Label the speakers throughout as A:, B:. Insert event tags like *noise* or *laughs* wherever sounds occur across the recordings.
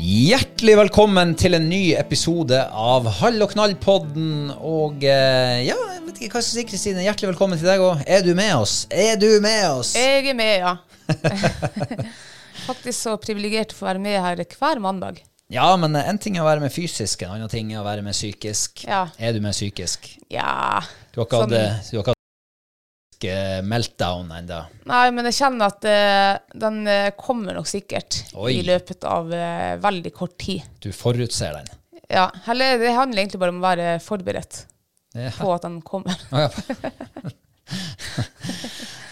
A: Hjertelig velkommen til en ny episode av Hall og knall-podden. Og eh, ja, jeg vet ikke hva jeg skal si, Kristine. Hjertelig velkommen til deg òg. Er du med oss? Er du med oss?
B: Jeg er med, ja.
A: *laughs*
B: Faktisk så privilegert å få være med her hver mandag.
A: Ja, men eh, en ting er å være med fysisk, en annen ting er å være med psykisk.
B: Ja.
A: Er du med psykisk?
B: Ja.
A: Du har ikke hatt
B: Sånn.
A: eh, du har ikke hatt eh, meltdown ennå.
B: Nei, men jeg kjenner at eh, den eh, kommer nok sikkert
A: Oi.
B: i løpet av eh, veldig kort tid.
A: Du forutser den.
B: Ja, eller Det handler egentlig bare om å være forberedt
A: Det er-
B: på at den
A: *laughs*
B: kommer.
A: Å, ja.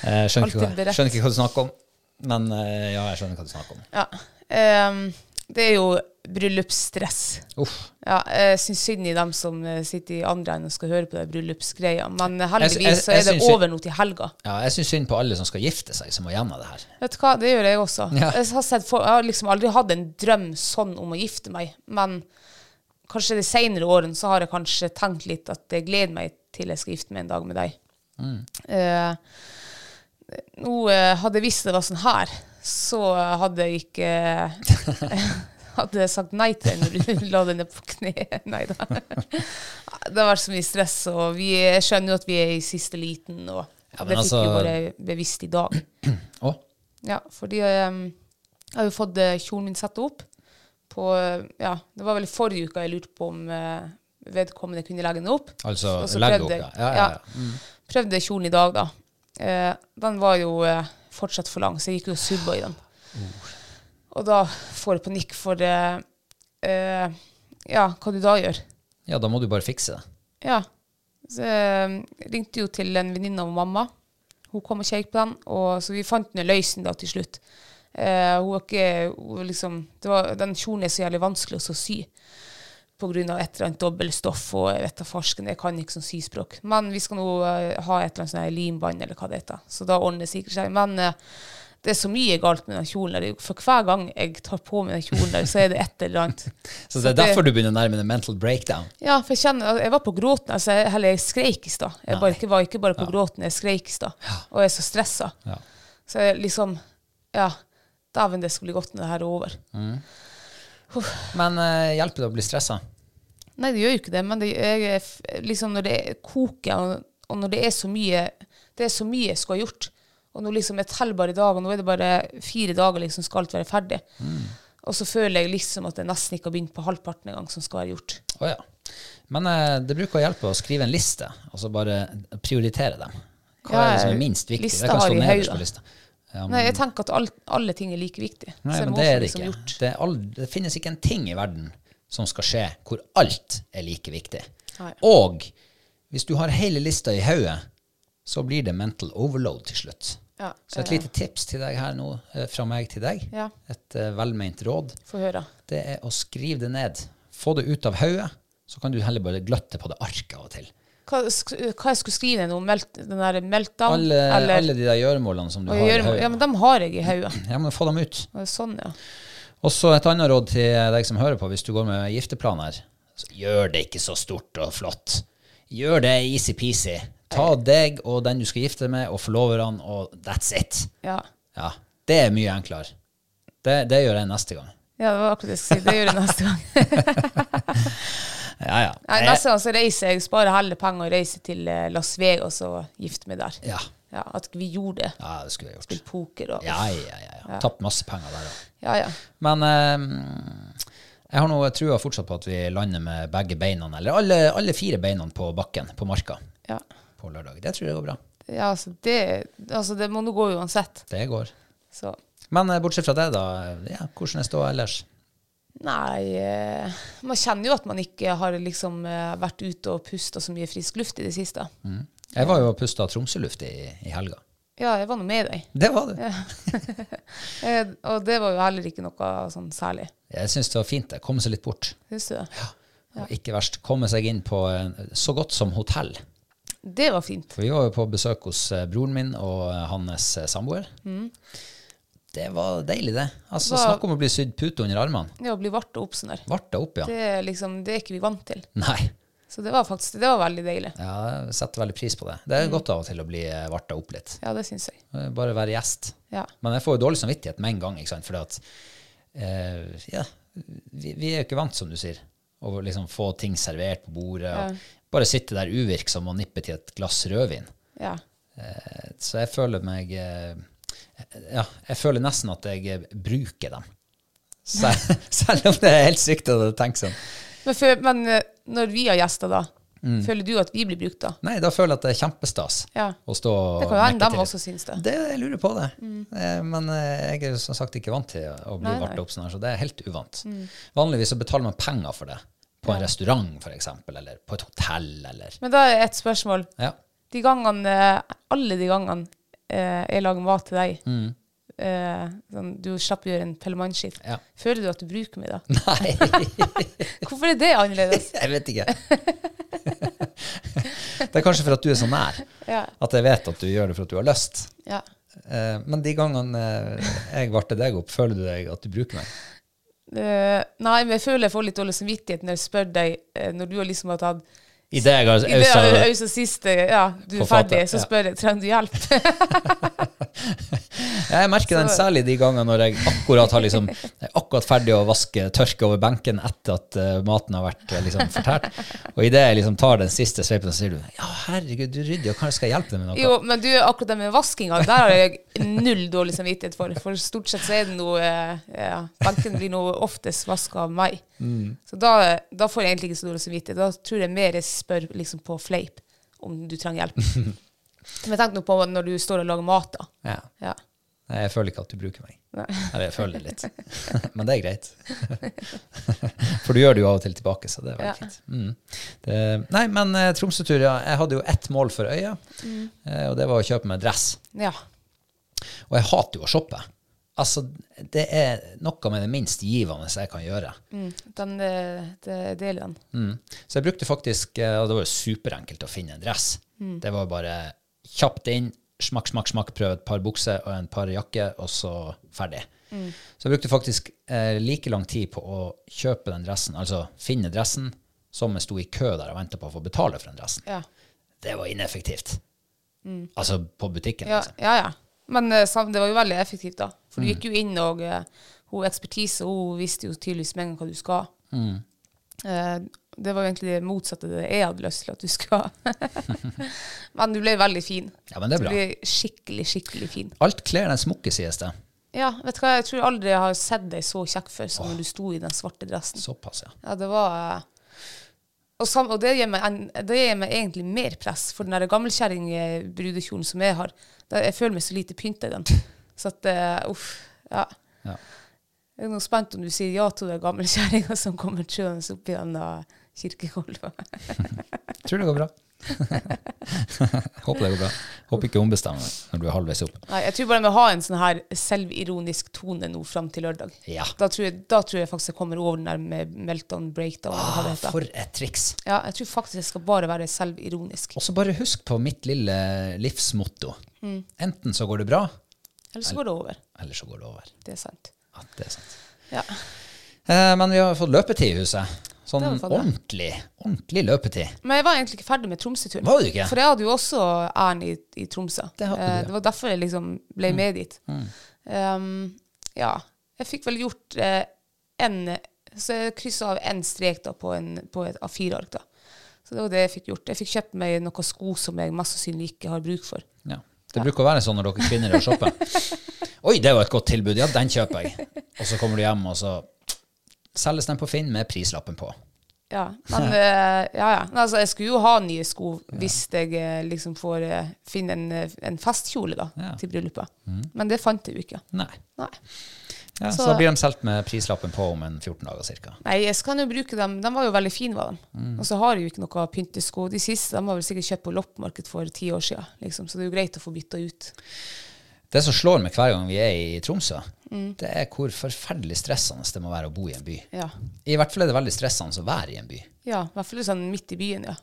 A: Eh, skjønner, ikke
B: Alltid
A: hva,
B: beredt.
A: skjønner ikke hva du snakker om, men eh, ja, jeg skjønner hva du snakker om.
B: Ja. Ehm, det er jo bryllupsstress.
A: Uff.
B: Ja, jeg syns synd i dem som eh, sitter i andre enden og skal høre på de bryllupsgreia, men eh,
A: Jeg- jeg-
B: heldigvis så
A: jeg
B: er det
A: syns synd-
B: over nå til helga.
A: Ja, jeg syns synd på alle som skal gifte seg, som må gjennom det her.
B: Vet du hva, det gjør jeg også.
A: Ja.
B: Jeg, har sett for, jeg har liksom aldri hatt en drøm sånn om å gifte meg, men kanskje de senere årene så har jeg kanskje tenkt litt at jeg gleder meg til jeg skal gifte meg en dag med deg.
A: Mm.
B: Eh, nå eh, hadde jeg visst det var sånn her, så hadde jeg ikke
A: *laughs*
B: *laughs* Hadde jeg sagt nei til deg når du *laughs* la deg ned på kne. Nei da. *laughs* Det har vært så mye stress, og vi, jeg skjønner jo at vi er i siste liten, og
A: Ja, men
B: det fikk vi
A: altså-
B: bare bevisst i dag.
A: Å,
B: Ja, fordi ehm, jeg har jo fått eh, kjolen min satt opp på eh, Ja, det var vel forrige uka jeg lurte på om eh, vedkommende kunne legge den opp.
A: altså
B: Og så
A: legg opp,
B: prøvde jeg-
A: ja. Ja, ja, Mm. ja.
B: Prøvde kjolen i dag, da. Eh, den var jo eh, fortsatt for lang, så jeg gikk jo og subba i den.
A: Uh.
B: Og da får jeg panikk for eh, eh, Ja, hva du da gjør?
A: ja, da må du bare fikse det.
B: Ja. Så jeg ringte jo til en venninne av mamma. Hun kom og kjekk på den, og så vi fant en løsning da til slutt. Eh, hun var ikke, hun var liksom, det var, den kjolen er så jævlig vanskelig også å sy på grunn av et eller annet dobbeltstoff og jeg vet da farsken, jeg kan ikke sånn syspråk. Men vi skal nå eh, ha et eller annet sånn her limbånd eller hva det heter, så da ordner det sikkert seg. Men eh, det er så mye galt med den kjolen der, for hver gang jeg tar på meg den kjolen der, så er det et eller annet.
A: Så det er
B: det-
A: derfor du begynner å nærme deg mental breakdown.
B: Ja, for jeg kjenner Jeg var på gråten. Altså, jeg- eller jeg skreik i stad. Jeg bare, ikke- var ikke bare på gråten, jeg skreik i stad. Og jeg er så stressa.
A: Ja.
B: Så jeg liksom Ja. Dæven, det skal bli godt når det her er over.
A: Men eh, hjelper det å bli stressa?
B: Nei, det gjør jo ikke det, men det, jeg, er f- liksom når det koker, og, og når det er så mye Det er så mye jeg skulle ha gjort. Og nå liksom jeg teller bare dager. Nå er det bare fire dager, liksom, skal alt være ferdig.
A: Mm.
B: Og så føler jeg liksom at jeg nesten ikke har begynt på halvparten engang som skal være gjort.
A: Å ja. Men eh, det bruker å hjelpe å skrive en liste, og så bare prioritere dem. Hva
B: Ja,
A: er det som er minst viktig?
B: lista
A: Det kan
B: har
A: stå
B: vi i
A: nederst
B: hodet.
A: på lista. Ja,
B: Nei, jeg tenker at alt, alle ting er like viktig.
A: Nei,
B: Så jeg
A: men
B: må
A: det
B: få
A: er det
B: liksom
A: ikke.
B: gjort.
A: Det, er all, det finnes ikke en ting i verden som skal skje hvor alt er like viktig.
B: Nei.
A: Og hvis du har hele lista i hodet, så blir det mental overload til slutt.
B: Ja,
A: Så et
B: eh,
A: lite tips til deg her nå, eh, fra meg til deg,
B: Ja.
A: et eh, velment råd,
B: Få høre.
A: det er å skrive det ned. Få det ut av hodet, så kan du heller bare gløtte på det arket av og til.
B: Hva, sk hva jeg skulle skrive nå? Melt, den der meltdown?
A: Alle,
B: eller,
A: alle de der gjøremålene som du
B: og
A: har i
B: gjøre,
A: hodet.
B: ja, men dem har jeg i hodet.
A: Ja, men få dem ut.
B: Og Sånn, ja.
A: Og så et annet råd til deg som hører på, hvis du går med gifteplan her, så gjør det ikke så stort og flott. Gjør det easy-peasy. Ta deg og den du skal gifte deg med, og forloverne, og that's it.
B: ja.
A: Ja, det er mye enklere. Det, det gjør jeg neste gang.
B: Ja, det var akkurat det jeg skulle si. Det gjør jeg neste
A: *laughs*
B: gang.
A: Ja, ja.
B: Nei, neste gang så reiser jeg, sparer heller penger og reiser til eh, Las Vegas og gifter meg der.
A: Ja.
B: Ja, At vi gjorde det.
A: ja, det skulle jeg gjort.
B: Spilt poker og
A: Ja, ja, ja. ja. Tapt masse penger der òg.
B: ja. ja.
A: Men eh, jeg har nå trua fortsatt på at vi lander med begge beina, eller alle, alle fire beina på bakken, på marka,
B: ja.
A: på lørdag. Det tror jeg går bra.
B: Ja, altså det, altså det må nå gå uansett.
A: Det går.
B: Så
A: Men eh, bortsett fra det, da. Ja, hvordan er ståa ellers?
B: nei eh, Man kjenner jo at man ikke har liksom eh, vært ute og pusta så mye frisk luft i det siste.
A: Jeg var jo og pusta Tromsø-luft i, i helga.
B: Ja, jeg var nå med deg.
A: Det var du.
B: Eh, og det var jo heller ikke noe sånn særlig.
A: Jeg syns det var fint. det. Komme seg litt bort.
B: Syns du det?
A: Og ikke verst, komme seg inn på eh, så godt som hotell.
B: Det var fint.
A: For vi var jo på besøk hos eh, broren min og eh, hans eh, samboer. Det var deilig, det. Altså,
B: Mm. Hva-
A: Snakk om å bli sydd pute under armene.
B: Det å bli vart og oppsonert.
A: Varta opp, ja.
B: Det, er liksom, det er ikke vi vant til.
A: Nei.
B: Så det var faktisk det var veldig deilig.
A: Ja, jeg setter veldig pris på det. Det
B: Mm.
A: er godt av og til å bli eh, varta opp litt.
B: Ja, det syns jeg.
A: Eh, Bare være gjest.
B: Ja.
A: Men jeg får jo dårlig samvittighet med en gang, ikke sant? Fordi at eh, Ja, vi, vi er jo ikke vant, som du sier, å liksom få ting servert på bordet. Og Bare sitte der uvirksom og nippe til et glass rødvin.
B: ja.
A: Eh, Så jeg føler meg eh, Ja, jeg føler nesten at jeg eh, bruker dem. Sel-
B: *laughs*
A: Selv om det er helt sykt å tenke sånn.
B: Men, før- men eh, når vi har gjester, da,
A: Mm.
B: føler du at vi blir brukt da?
A: Nei, da føler jeg at det er kjempestas
B: Ja.
A: å stå og
B: Det kan jo hende
A: mekke
B: dem
A: til.
B: også syns det.
A: Det, jeg lurer på det. Eh, Men eh, jeg er jo som sagt ikke vant til å bli
B: Mm. Nei, Mm. nei.
A: varta opp sånn her, så det er helt uvant. Vanligvis så betaler man penger for det. På en restaurant, for eksempel, eller på et hotell, eller
B: Men da er et spørsmål.
A: Ja. *laughs*
B: De gangene, eh, alle de gangene eh, jeg lager mat til deg,
A: Mm.
B: eh, sånn, du slapp å gjøre en pellemannskitt,
A: Ja.
B: føler du at du bruker meg da?
A: Nei,
B: Hvorfor er det
A: *laughs*
B: annerledes?
A: jeg vet ikke. *laughs* det er kanskje for at du er så nær
B: Ja.
A: at jeg vet at du gjør det for at du har lyst.
B: Ja.
A: Eh, Men de gangene eh, jeg varter deg opp, føler du deg at du bruker meg?
B: Eh, nei, men jeg føler jeg får litt dårlig samvittighet når jeg spør deg, eh, når du har liksom har tatt
A: Idet jeg har
B: I det er jo også siste, ja, du
A: På
B: er ferdig,
A: fatet,
B: så
A: ja.
B: spør jeg, trenger du hjelp? *laughs*
A: Jeg merker den særlig de gangene når jeg akkurat har liksom, jeg er akkurat ferdig å vaske tørke over benken etter at eh, maten har vært eh, liksom, fortært. Og idet jeg liksom tar den siste sveipen, så sier du ja, herregud, du er ryddig, og kanskje skal jeg hjelpe deg med noe?
B: Jo, men du, akkurat det med vaskinga, der har jeg null dårlig samvittighet for. For stort sett så er det noe eh, ja, Benken blir noe oftest vaska av meg.
A: Mm.
B: Så da, da får jeg egentlig ikke så dårlig samvittighet. Da tror jeg mer jeg spør liksom på fleip om du trenger hjelp.
A: *laughs*
B: Men tenk nå på når du står og lager mat, da.
A: Ja.
B: Ja.
A: Nei, jeg føler ikke at du bruker meg.
B: Nei.
A: Eller jeg føler det litt. *laughs* Men det er greit. *laughs* For du gjør det jo av og til tilbake, så det er veldig
B: Ja.
A: fint. Mm. Det, nei, men eh, Tromsø-tur, ja. Jeg hadde jo ett mål for øya,
B: Mm.
A: eh, og det var å kjøpe meg dress.
B: ja.
A: Og jeg hater jo å shoppe. Altså, det er noe med det minst givende jeg kan gjøre.
B: Mm. Den eh, det, deler den.
A: Mm. Så jeg brukte faktisk eh, Og det var jo superenkelt å finne en dress.
B: Mm.
A: Det var jo bare kjapt inn, smakk, smakk, smakk, prøve et par bukser og en par jakker, og så ferdig.
B: Mm.
A: Så jeg brukte faktisk eh, like lang tid på å kjøpe den dressen, altså finne dressen, som jeg sto i kø der og venta på å få betale for den dressen.
B: Ja. Mm.
A: Det var ineffektivt. Altså på butikken,
B: Ja,
A: liksom. Mm.
B: ja. ja. Men eh, sam- det var jo veldig effektivt, da. For du gikk jo inn, og eh, hun ekspertise hun visste jo tydeligvis med en gang hva du skal ha.
A: Mm.
B: Eh, det var jo egentlig det motsatte det jeg hadde lyst til at du skulle ha. *laughs* men du ble veldig fin.
A: Ja, men det er bra.
B: Du ble skikkelig, skikkelig fin.
A: Alt kler den smokke, sies det.
B: Ja, vet du hva, jeg tror aldri jeg har sett deg så kjekk før som når du sto i den svarte dressen.
A: Såpass, ja.
B: Ja, det var eh, Og, sam, og det, gir meg en, det gir meg egentlig eh, mer press, for den der gammelkjerring-brudekjolen som jeg har, da, jeg føler meg så lite pynta i den. Så at eh, Uff. Ja.
A: Ja.
B: Jeg er nå spent om du sier ja til den gamle kjerringa som kommer kjørende opp gjennom kirkegulvet.
A: Tror det går bra. *laughs* Håper det går bra. Håper ikke hun bestemmer deg når du er halvveis opp.
B: Nei, jeg tror bare jeg må ha en sånn her selvironisk tone nå fram til lørdag.
A: Ja.
B: Da, tror jeg, da tror jeg faktisk jeg kommer over den der med meltdown breakdown. eller hva det heter.
A: Ah, For et triks.
B: Ja, jeg tror faktisk jeg skal bare være selvironisk.
A: Og så bare husk på mitt lille livsmotto.
B: Mm.
A: Enten så går det bra,
B: Eller så går det over.
A: eller så går det over.
B: Det er sant.
A: Ja, det er sant.
B: Ja.
A: Eh, men vi har fått løpetid i huset. Sånn
B: Det har vi fått, ja.
A: ordentlig, ordentlig løpetid.
B: Men jeg var egentlig ikke ferdig med Tromsø-turen.
A: Var du ikke?
B: For jeg hadde jo også æren i, i Tromsø.
A: Det hadde du,
B: Eh,
A: ja. Mm.
B: det var derfor jeg liksom ble med dit. Um, ja. Jeg fikk vel gjort eh, en Så jeg kryssa av én strek da på, en, på et A4-ark. da. Så det var det jeg fikk gjort. Jeg fikk kjøpt meg noen sko som jeg mest sannsynlig ikke har bruk for.
A: Ja. Det bruker å være sånn når dere kvinner er og
B: *laughs*
A: shopper. Oi, det var et godt tilbud. Ja, den kjøper jeg. Og så kommer du hjem, og så selges den på Finn med prislappen på.
B: Ja, men eh, ja, ja. Men Altså, jeg skulle jo ha nye sko hvis jeg eh, liksom får eh, finne en, eh, en festkjole da,
A: Ja. Mm.
B: til bryllupet. Men det fant jeg jo ikke.
A: Nei.
B: Nei.
A: Ja, så,
B: Så-
A: da blir de solgt med prislappen på om en 14 dager cirka.
B: Nei, jeg skal jo bruke dem. De var jo veldig fine, var de. Og så har jeg jo ikke noe pyntesko. De siste de var vel sikkert kjøpt på loppemarked for ti år siden, liksom. så det er jo greit å få bytta ut.
A: Det som slår meg hver gang vi er i Tromsø, det er hvor forferdelig stressende det må være å bo i en by.
B: Ja.
A: I hvert fall er det veldig stressende å være i en by.
B: ja, i hvert fall sånn midt i byen, ja.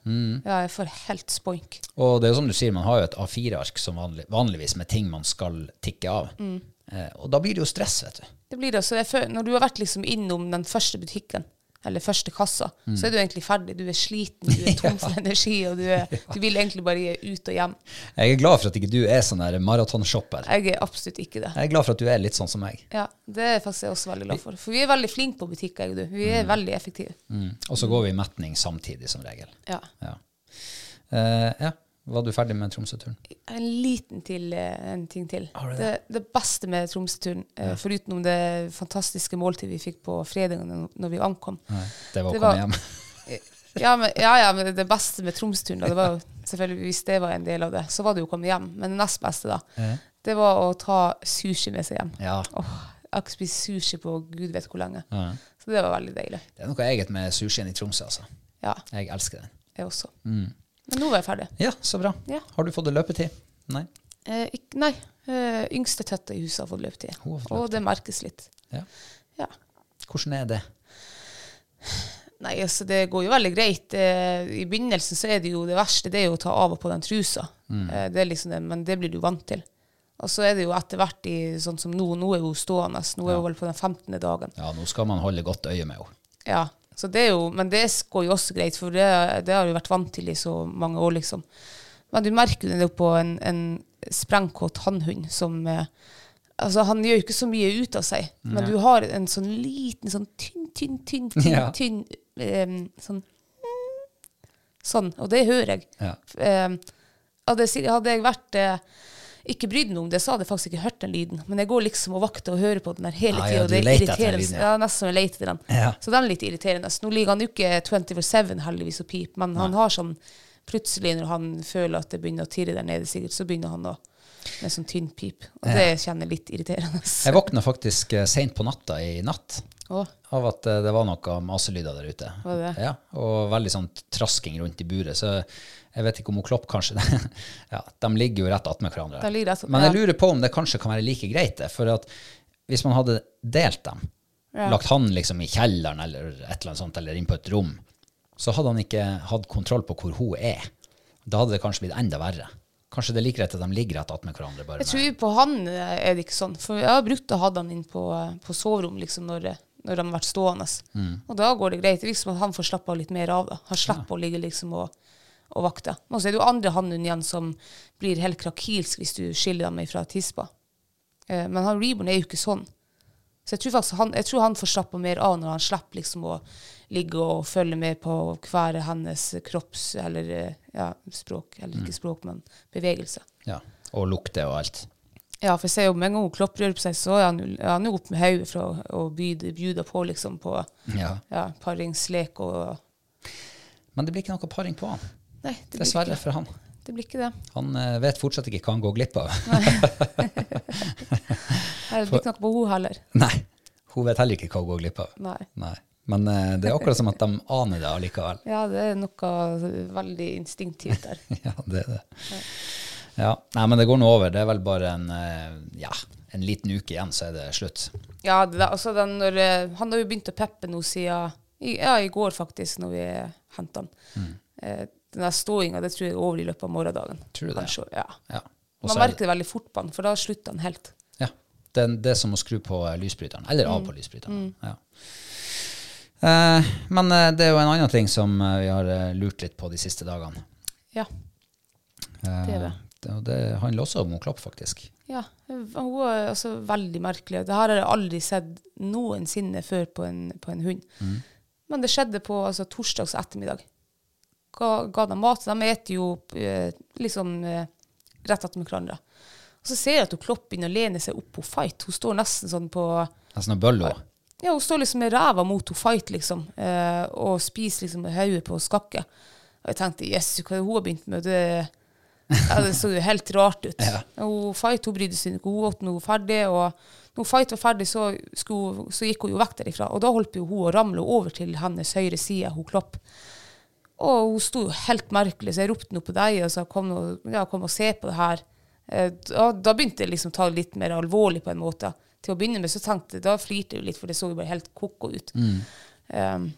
B: Ja, jeg får helt spoink.
A: Og det er jo som du sier, man har jo et A4-ark som vanlig, vanligvis med ting man skal tikke av. Eh, og da blir det jo stress, vet du.
B: Det blir det. Så jeg føler, når du har vært liksom innom den første butikken, eller første kassa, så er du egentlig ferdig. Du er sliten, du er tom for energi, og du, er, du vil egentlig bare ut og hjem.
A: Jeg er glad for at ikke du er sånn der maratonshopper.
B: Jeg er absolutt ikke det.
A: Jeg er glad for at du er litt sånn som meg.
B: Ja, Det er faktisk jeg også veldig glad for. For vi er veldig flinke på butikker, jeg og du. Vi er veldig effektive.
A: Mm. Og så går vi i metning samtidig, som regel.
B: Ja.
A: Ja. Eh, ja. Var du ferdig med Tromsø-turen?
B: En liten til, eh, en ting til.
A: Har du det?
B: det? Det, beste med Tromsø-turen, eh, foruten om det fantastiske måltidet vi fikk på fredagen når- når vi ankom
A: Nei, det var å
B: Det
A: komme
B: var-
A: hjem.
B: ja, men, ja, ja, men det beste med Tromsø-turen, da, det var jo selvfølgelig hvis det var en del av det, så var det jo å komme hjem. Men det nest beste, da, det var å ta sushi med seg hjem.
A: *laughs* Ja.
B: Åh, jeg har ikke spist sushi på gud vet hvor lenge.
A: Ja.
B: Så det var veldig deilig.
A: Det er noe eget med sushien i Tromsø, altså.
B: Ja,
A: Jeg elsker den.
B: jeg også.
A: Mm.
B: Men nå var jeg ferdig.
A: Ja, så bra.
B: Ja.
A: Har du fått løpetid? Nei.
B: Eh, ikk, nei, eh, yngste tøtta i huset har fått løpetid.
A: Hun har fått
B: Og det merkes litt.
A: Ja.
B: Ja.
A: Hvordan er det?
B: Nei, altså det går jo veldig greit. Eh, I begynnelsen så er det jo det verste, det er jo å ta av og på den trusa. Eh, det er liksom det, men det blir du vant til. Og så er det jo etter hvert i sånn som nå, nå er hun stående, nå er hun vel på den 15. dagen.
A: Ja, nå skal man holde godt øye med henne.
B: Ja, så det er jo, men det går jo også greit, for det, det har du vært vant til i så mange år, liksom. Men du merker jo det på en, en sprengkåt hannhund som eh, Altså, han gjør jo ikke så mye ut av seg, men du har en sånn liten, sånn tynn, tynn, tynn, tynn,
A: Ja.
B: tynn em, Sånn Sånn. Og det hører jeg.
A: Ja.
B: Em, hadde, jeg si- hadde jeg vært eh, ikke brydd meg om det, så hadde jeg faktisk ikke hørt den lyden. Men jeg går liksom og vakter og hører på den her hele
A: Ah,
B: tida.
A: ja,
B: og
A: du
B: det er
A: leter etter den
B: irriterende.
A: lyden, ja.
B: Ja, nesten som jeg leter etter den.
A: Ja.
B: Så den er litt irriterende. Nå ligger han jo ikke 24-7 heldigvis og piper, men han har sånn plutselig når han føler at det begynner å tirre der nede, sikkert, så begynner han å med sånn tynn pip. Og det kjenner jeg litt irriterende.
A: Jeg våkna faktisk eh, sent på natta i natt
B: Å,
A: av at eh, det var noe maselyder der ute.
B: Var det?
A: Ja, og veldig sånn trasking rundt i buret. Så jeg vet ikke om hun Klopp kanskje *laughs* ja, De ligger jo rett attmed hverandre.
B: De ligger rett at-
A: Men jeg
B: ja.
A: lurer på om det kanskje kan være like greit, det. For at hvis man hadde delt dem, lagt han liksom i kjelleren eller et eller annet sånt, eller inn på et rom, så hadde han ikke hatt kontroll på hvor hun er. Da hadde det kanskje blitt enda verre. Kanskje det er like greit at de ligger rett attmed hverandre. bare
B: jeg
A: med-
B: tror på han eh, er det ikke sånn, for jeg har brukt å ha han inn på, eh, på soverom liksom, når, eh, når han har vært stående.
A: Mm.
B: Og da går det greit. Det er liksom at han får slappe av litt mer av. Da. Han slipper å ligge liksom og, og vakte. Men så er det jo andre hannhund igjen som blir helt krakilsk hvis du skiller dem fra tispa. Eh, Men han Reborn er jo ikke sånn. Så jeg tror faktisk han, jeg tror han får slappe mer av når han slipper liksom å ligge og følge med på hver hennes kropps eller eh, ja, språk, eller
A: Mm.
B: ikke språk, men bevegelse.
A: Ja, og lukte og alt.
B: Ja, for jeg ser jo med en gang hun klopper på seg, så er han, jo- er han jo opp med hodet for å, å bjude, bjude på liksom på
A: Ja.
B: ja, paringslek og
A: Men det blir ikke noe paring på han.
B: Nei, det blir,
A: Dessverre for han.
B: det blir ikke det.
A: Han eh, vet fortsatt ikke hva han går glipp av.
B: Jeg blir ikke noe på henne heller.
A: *laughs* Nei. Hun vet heller ikke hva hun går glipp av.
B: Nei.
A: Nei. Men eh, det er akkurat som at de aner det allikevel.
B: Ja, det er noe veldig instinktivt der.
A: *laughs* Ja, det er det. Ja. Nei, men det går nå over. Det er vel bare en, eh, ja, en liten uke igjen, så er det slutt.
B: Ja, det, der, altså den, når, eh, han har jo begynt å peppe nå siden i, ja, i går, faktisk, når vi henta han.
A: Mm.
B: Eh, den der ståinga det tror jeg er over i løpet av morgendagen.
A: Tror du det?
B: Kanskje, ja.
A: Ja. Og
B: Man
A: så er det-
B: merker det veldig fort på han, for da slutter han helt.
A: Ja. Det, er- det er som å skru på eh, lysbryteren. Eller
B: Mm.
A: av på lysbryteren. Ja. Eh, men eh, det er jo en annen ting som eh, vi har eh, lurt litt på de siste dagene.
B: Ja.
A: Eh,
B: Det er det.
A: det- og det handler også om hun Klopp, faktisk.
B: ja. Hun er altså veldig merkelig. Det her har jeg aldri sett noensinne før på en, på en hund. Men det skjedde på altså, torsdags ettermiddag. Ga, ga dem mat. De eter jo eh, liksom eh, rett etter med hverandre. Og så ser jeg at hun Klopp begynner å lene seg opp på fight. Hun står nesten sånn på
A: Nesten en bølle hun.
B: ja, hun står liksom med ræva mot hun fight, liksom, eh, og spiser liksom med hodet på skakket. Og jeg tenkte jøss, hva er det hun har begynt med? Det, ja, det så jo helt rart ut. Hun fight hun brydde seg ikke, hun åt noe ferdig. Og når fight var ferdig, så, skulle, hun- så gikk hun jo vekk derifra. Og da holdt jo hun å ramle over til hennes høyre side, hun klopp. Og hun sto jo helt merkelig, så jeg ropte noe på deg og sa kom, nå- ja, kom og se på det her. Eh, Da, da begynte jeg liksom å ta det litt mer alvorlig på en måte. Til å begynne med så tenkte jeg, da flirte jeg jo litt, for det så jo bare helt koko ut. Eh,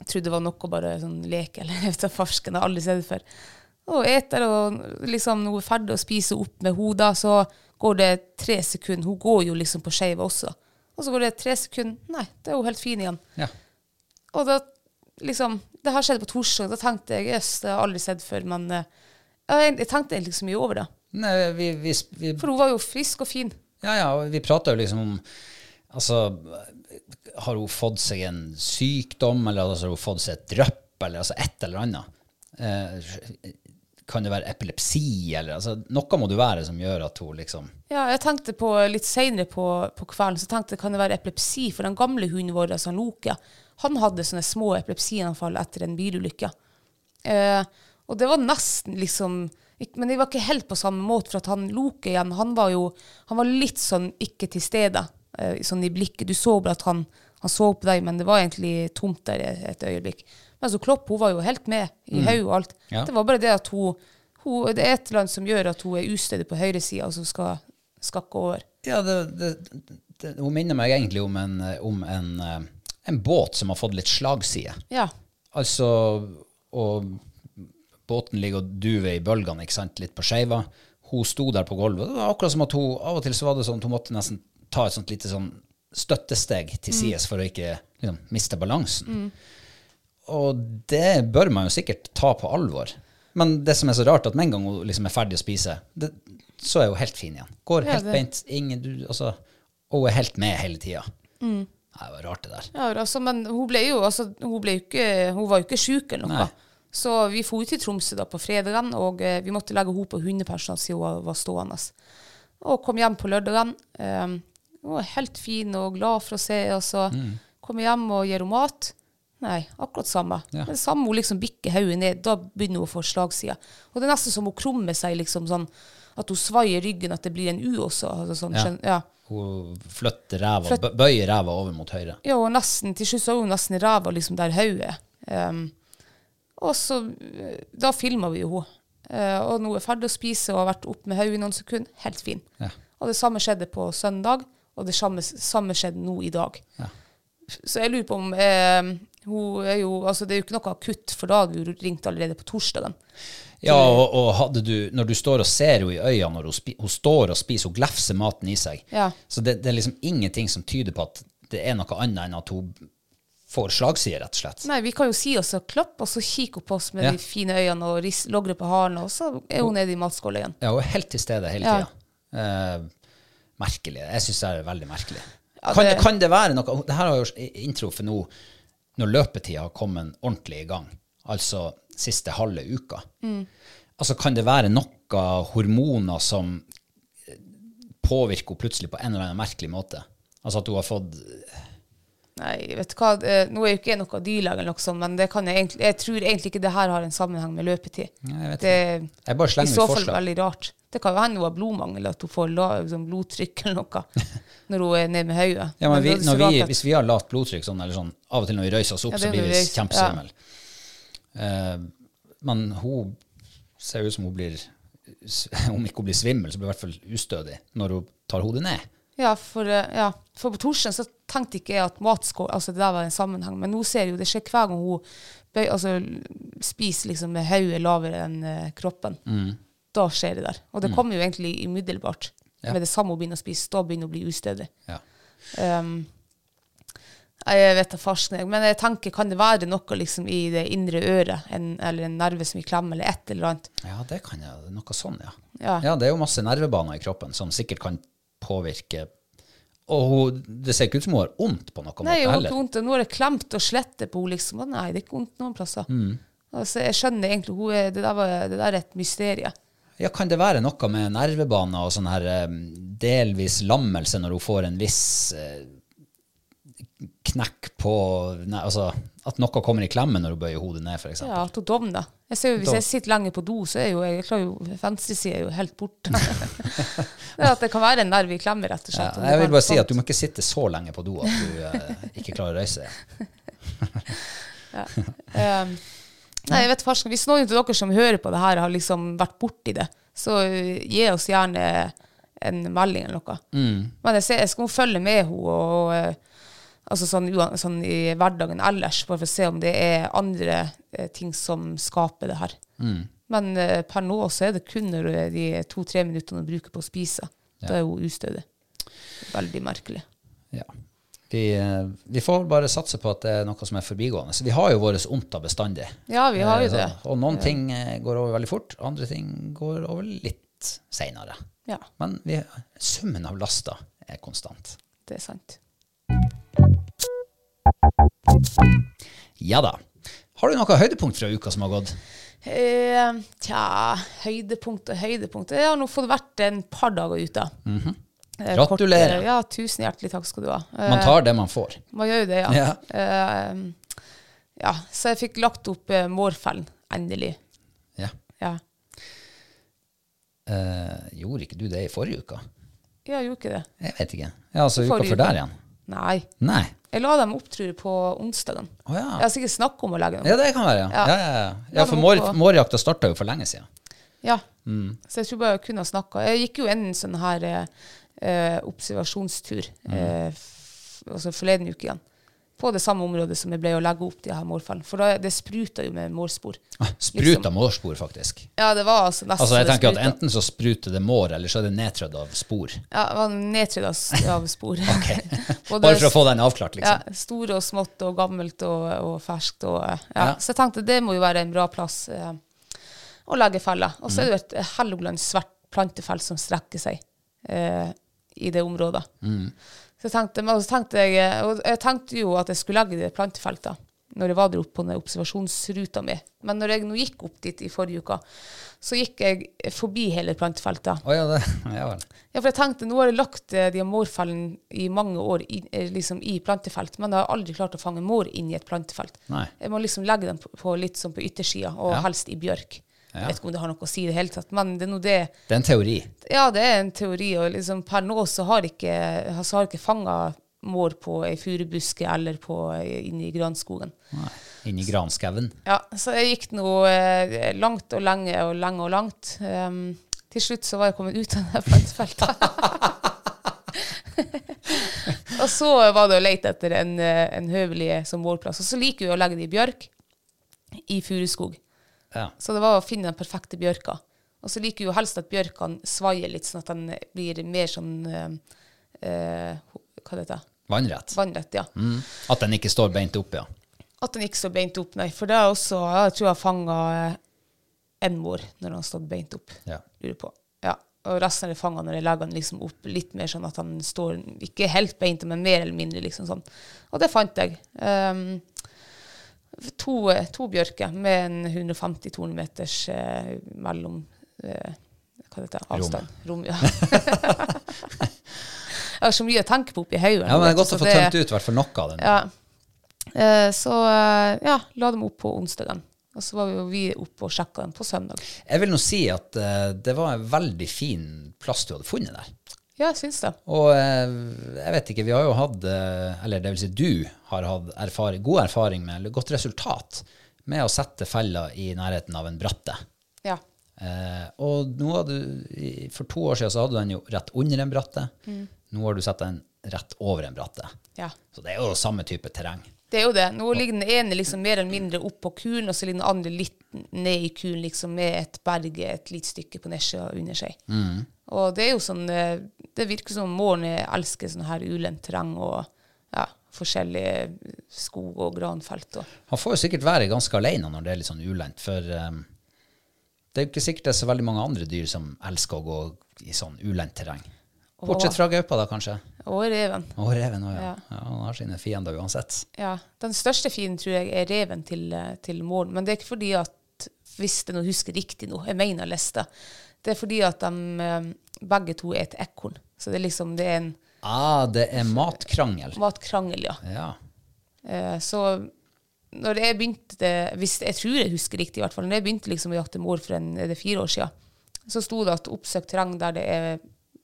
B: jeg trodde det var noe bare sånn leke eller *laughs* jeg vet da farsken, jeg har aldri sett det før. Og eter og liksom hun er ferdig å spise opp med hodet, så går det tre sekunder. Hun går jo liksom på skeiva også. Og så går det tre sekunder. Nei, det er jo helt fin igjen.
A: Ja.
B: Og da liksom Det her skjedde på torsdag. Da tenkte jeg jøss, det har jeg aldri sett før, men eh, jeg, jeg tenkte egentlig ikke så mye over det.
A: Nei, vi, vi, vi,
B: For hun var jo frisk og fin.
A: ja, ja, og vi prater jo liksom om Altså, har hun fått seg en sykdom, eller altså, har hun fått seg et drypp, eller altså et eller annet? Eh, kan det være epilepsi, eller altså, Noe må det jo være som gjør at hun liksom
B: Ja, jeg tenkte på Litt seinere på, på kvelden så tenkte jeg kan det være epilepsi. For den gamle hunden vår, altså Loke, han hadde sånne små epilepsianfall etter en bilulykke. Eh, og det var nesten liksom ikk- Men det var ikke helt på samme måte, for at han Loke igjen, han var jo han var litt sånn ikke til stede eh, sånn i blikket. Du så bare at han, han så på deg, men det var egentlig tomt der et et øyeblikk. Men så Klopp hun var jo helt med i hodet og alt.
A: Ja.
B: Det var bare det at hun, hun Det er et eller annet som gjør at hun er ustødig på høyresida, og så skal skakke over.
A: Ja, det, det, det, hun minner meg egentlig om, en, eh, om en, eh, en båt som har fått litt slagside.
B: Ja.
A: Altså, og båten ligger og duver i bølgene, ikke sant, litt på skeiva. Hun sto der på gulvet. Det var akkurat som at hun av og til så var det sånn at hun måtte nesten ta et sånt lite sånn støttesteg
B: Mm.
A: til sides for å ikke liksom, miste balansen. Og det bør man jo sikkert ta på alvor. Men det som er så rart, at med en gang hun liksom er ferdig å spise, det, så er hun helt fin igjen. Går
B: Ja,
A: helt
B: det-
A: beint. Ingen, du, altså, og hun er helt med hele tida. Nei, Det var rart, det der.
B: Mm. Ja, altså, men hun ble jo altså, hun, ble jo ikke, hun var jo ikke syk eller noe.
A: Nei.
B: Så vi dro til Tromsø da på fredagen, og eh, vi måtte legge henne på hundepensjon siden hun var- var stående. Og kom hjem på lørdagen. Eh, hun var helt fin og glad for å se oss. og
A: Mm.
B: Kom hjem og gir henne mat. Nei, akkurat samme.
A: Ja.
B: Men samme hun liksom bikker hodet ned, da begynner hun å få slagside. Og det er nesten som hun krummer seg, liksom sånn at hun svaier ryggen, at det blir en U også. Altså, sånn,
A: Ja.
B: skjønner- ja.
A: Hun flytter ræva,
B: Flytt-
A: bø- bøyer ræva over mot høyre.
B: Ja, og nesten, til slutt så var hun nesten i ræva liksom der hodet. Um, og så eh, Da filma vi jo henne. Eh, og nå er jeg ferdig å spise og har vært oppe med hodet i noen sekunder. Helt fin.
A: Ja.
B: Og det samme skjedde på søndag, og det samme, samme skjedde nå i dag.
A: Ja.
B: Så jeg lurer på om eh, hun er jo, altså Det er jo ikke noe akutt, for da hadde hun ringt allerede på torsdagen.
A: Ja, og, og hadde du, når du står og ser henne i øynene, når hun, spi, hun står og spiser, hun glefser maten i seg,
B: Ja.
A: så det, det er liksom ingenting som tyder på at det er noe annet enn at hun får slagside, rett og slett.
B: Nei, Vi kan jo si oss og klappe, og så kikker hun på oss med
A: Ja.
B: de fine øynene og ris- logrer på halen, og så er hun nede i matskåla igjen.
A: Ja, hun er helt til stede hele
B: Ja.
A: tida. Eh, merkelig. Jeg syns det er veldig merkelig.
B: Ja,
A: kan, det,
B: det-
A: kan det være noe Det her har jo s- inntruffet nå når løpetida har kommet ordentlig i gang, altså siste halve uka.
B: Mm.
A: Altså, kan det være noe hormoner som eh, påvirker henne plutselig på en eller annen merkelig måte? Altså at hun har fått
B: Nei, vet du hva, eh, nå er jo ikke jeg noe dyrlege eller noe sånt, men det kan jeg, egentlig, jeg tror egentlig ikke det her har en sammenheng med løpetid.
A: Nei, jeg vet
B: det
A: Jeg bare slenger
B: i
A: ut
B: så fall
A: forslag.
B: veldig rart. Det kan jo hende hun har blodmangel, at hun får la, sånn blodtrykk
A: *laughs*
B: eller noe når hun er nede med hodet.
A: Ja, men vi,
B: det er så
A: når vi,
B: rart at-
A: hvis vi har lavt blodtrykk, sånn, eller sånn, av og til når vi røyser oss opp,
B: Ja, det
A: så
B: er
A: blir vi
B: når vi røyser,
A: kjempesvimmel. Eh, men hun ser ut som hun blir, s- *laughs* om ikke hun blir svimmel, så blir hun i hvert fall ustødig når hun tar hodet ned.
B: Ja, for, eh, ja. for på torsdag så tenkte ikke jeg at matskål altså det der var en sammenheng, men nå ser jeg jo det skjer hver gang hun bøy, altså, spiser liksom med hodet lavere enn eh, kroppen. Da skjer det der. Og det kommer jo egentlig umiddelbart.
A: Ja.
B: Med det samme hun begynner å spise, da begynner hun å bli ustødig.
A: Ja.
B: Um, nei, jeg vet da farsen, jeg. Men jeg tenker, kan det være noe liksom i det indre øret, en, eller en nerve som vi klemmer, eller et eller annet?
A: ja, det kan jeg. Noe sånn, ja.
B: Ja.
A: det er jo masse nervebaner i kroppen som sikkert kan påvirke Og hun, det ser ikke ut som hun har vondt på noen
B: Nei,
A: måte
B: jeg har ikke
A: heller.
B: vondt. og Nå er det klemt og slettet på henne, liksom. Og nei, det er ikke vondt noen plasser.
A: Mm.
B: Altså, jeg skjønner egentlig, hun er, det, der var, det der er et mysterie.
A: Ja, Kan det være noe med nervebaner og sånn her eh, delvis lammelse når hun får en viss eh, knekk på ne, Altså at noe kommer i klemme når hun bøyer hodet ned, f.eks.
B: Ja, at hun dovner. Jeg ser jo, hvis
A: Dov-
B: jeg sitter lenge på do, så er jo jeg klarer jo, venstresida er jo helt borte. *laughs* det er at det kan være en nerve i klemme, rett og slett. og det
A: jeg
B: kan
A: vil bare si
B: sånt.
A: at du må ikke sitte så lenge på do at du eh, ikke klarer å reise deg.
B: Um, nei, jeg vet farsken, Hvis noen av dere som hører på det her, har liksom vært borti det, så uh, gi oss gjerne en melding eller noe. Men jeg, ser, jeg skal følge med henne og, uh, altså sånn, uan- sånn i hverdagen ellers, bare for å se om det er andre eh, ting som skaper det her. Men eh, per nå så er det kun når det er de to-tre minuttene hun bruker på å spise. Da er hun ustødig. Veldig merkelig.
A: Ja. Vi, eh, vi får bare satse på at det er noe som er forbigående. Så vi har jo våre ondter bestandig.
B: Ja, vi har
A: Eh,
B: jo det.
A: så- Og noen ting eh, går over veldig fort, andre ting går over litt seinere.
B: Ja,
A: Men vi, summen av lasta er konstant.
B: det er sant.
A: Ja da. Har du noe høydepunkt fra uka som har gått?
B: Eh, tja, høydepunkt og høydepunkt. Jeg har nå fått vært en par dager ute. Eh, kort-
A: Mhm. Gratulerer.
B: eh, ja, tusen hjertelig takk skal du ha. Eh,
A: Man tar det man får.
B: man gjør jo det, ja.
A: Ja.
B: Eh, ja. Så jeg fikk lagt opp eh, Mårfellen, endelig.
A: Ja.
B: Ja.
A: Eh, gjorde ikke du det i forrige uke?
B: Jeg gjorde ikke det.
A: Jeg vet ikke. Ja, altså uka
B: Forrige
A: før
B: uke.
A: der igjen?
B: Nei.
A: Nei.
B: Jeg la dem opp, tror jeg, på onsdagen.
A: Å ja.
B: Jeg har sikkert snakket om å legge dem
A: Ja, det kan være. Ja,
B: Ja.
A: ja, ja, ja. ja
B: Ja,
A: for
B: men
A: mår,
B: hvorfor?
A: mårjakta starta jo for lenge siden.
B: Ja.
A: Mm.
B: Så jeg tror bare jeg kunne ha snakka. Jeg gikk jo en sånn her eh, eh, observasjonstur
A: Mm.
B: eh, f altså forleden uke igjen. På det samme området som jeg ble å legge opp de her mårfallene. For da, det spruta jo med mårspor.
A: Spruta mårspor, faktisk.
B: Ja, det var altså nesten
A: Ah. Altså, jeg
B: Liksom. det
A: tenker at
B: spruta.
A: Enten så spruter det mår, eller så er det nedtrødd av
B: *laughs*
A: spor.
B: Ja, det var nedtrydd av, s- av spor. *laughs* Både
A: Bare for å få den avklart, liksom.
B: Ja, store og smått og gammelt og, og ferskt. Og, eh, ja.
A: Ja.
B: Så jeg tenkte det må jo være en bra plass eh, å legge feller. Og så er det jo et Helgoland svært plantefelt som strekker seg eh, i det området.
A: Mm.
B: Så jeg tenkte, men så tenkte jeg, eh, og jeg tenkte jo at jeg skulle legge det plantefeltet når jeg var der oppe på den observasjonsruta mi. Men når jeg nå gikk opp dit i forrige uke, så gikk jeg forbi hele plantefeltet.
A: Å ja, det, *laughs* ja vel.
B: Ja, for jeg tenkte, nå har jeg lagt eh, de mårfellen i mange år i, eh, liksom i plantefelt, men jeg har aldri klart å fange mår inn i et plantefelt.
A: Nei.
B: Jeg må liksom legge dem på, på litt sånn på yttersida, og
A: Ja.
B: helst i bjørk.
A: Ja.
B: Jeg vet ikke om det har noe å si i det hele tatt, men det er nå det.
A: Det er en teori.
B: Ja, det er en teori, og liksom per nå så har jeg ikke, så har jeg ikke fanga mår på ei furubuske eller på, eh, inne i granskogen.
A: Nei. Inni granskauen.
B: Ja, så jeg gikk nå eh, langt og lenge og lenge og langt. Ehm, til slutt så var jeg kommet ut av det plantefeltet. og så var det å lete etter en, eh, en høvelig som målplass. Og så liker vi å legge det i bjørk i furuskog.
A: Ja.
B: Så det var å finne den perfekte bjørka. Og så liker vi jo helst at bjørkene svaier litt, sånn at den blir mer sånn eh, eh, Hva det heter det?
A: Vannrett.
B: Vannrett, ja.
A: Mm. At den ikke står beint opp, ja.
B: At den ikke står beint opp, nei. For det er også, jeg tror jeg har fanga én mor når han har stått beint opp.
A: Ja.
B: Lurer på. Ja. Og resten er det fanga når jeg legger den liksom opp litt mer sånn at han står ikke helt beint, men mer eller mindre liksom sånn. Og det fant jeg. Ehm, to, to bjørker med en 150-200 meters eh, mellom eh, Hva heter det? Avstand. Rom. ja. *laughs* jeg har så mye å tenke på oppi hodet.
A: ja, men det er godt å få tømt ut i hvert fall noe av den.
B: Ja. Eh, så eh, ja, la dem opp på onsdagen. Og så var vi jo vi oppe og sjekka den på søndag.
A: Jeg vil nå si at eh, det var en veldig fin plass du hadde funnet der.
B: Ja, jeg syns det.
A: Og eh, jeg vet ikke, vi har jo hatt, eh, eller det vil si du har hatt erfaring, god erfaring med, eller godt resultat, med å sette feller i nærheten av en bratte.
B: Ja.
A: Eh, og nå hadde du, i- for to år siden så hadde du den jo rett under en bratte. Nå har du satt den rett over en bratte.
B: ja.
A: Så det er jo samme type terreng.
B: Det er jo det. Nå ligger den ene liksom mer eller mindre opp på kulen, og så ligger den andre litt ned i kulen, liksom med et berg et lite stykke på nedsida under seg. Og det er jo sånn eh, Det virker som Måren elsker sånn her ulendt terreng og ja, forskjellige skog- og granfelt og
A: Han får jo sikkert være ganske alene når det er litt sånn ulendt, for eh, det er jo ikke sikkert det er så veldig mange andre dyr som elsker å gå i sånn ulendt terreng. Bortsett fra gaupa, da, kanskje.
B: Og reven.
A: Og reven òg, ja.
B: Ja.
A: ja. Han har sine fiender uansett.
B: Ja. Den største fienden tror jeg er reven til, eh, til Måren, men det er ikke fordi at Hvis jeg nå husker riktig nå, jeg mener jeg leste, det er fordi at de eh, begge to er et ekorn. Så det er liksom det er en
A: Ah, det er matkrangel.
B: matkrangel, ja.
A: Ja.
B: Eh, så når jeg begynte hvis, Jeg tror jeg husker riktig, i hvert fall. Når jeg begynte liksom å jakte mor for en, er det fire år siden, så sto det at oppsøkt terreng der det er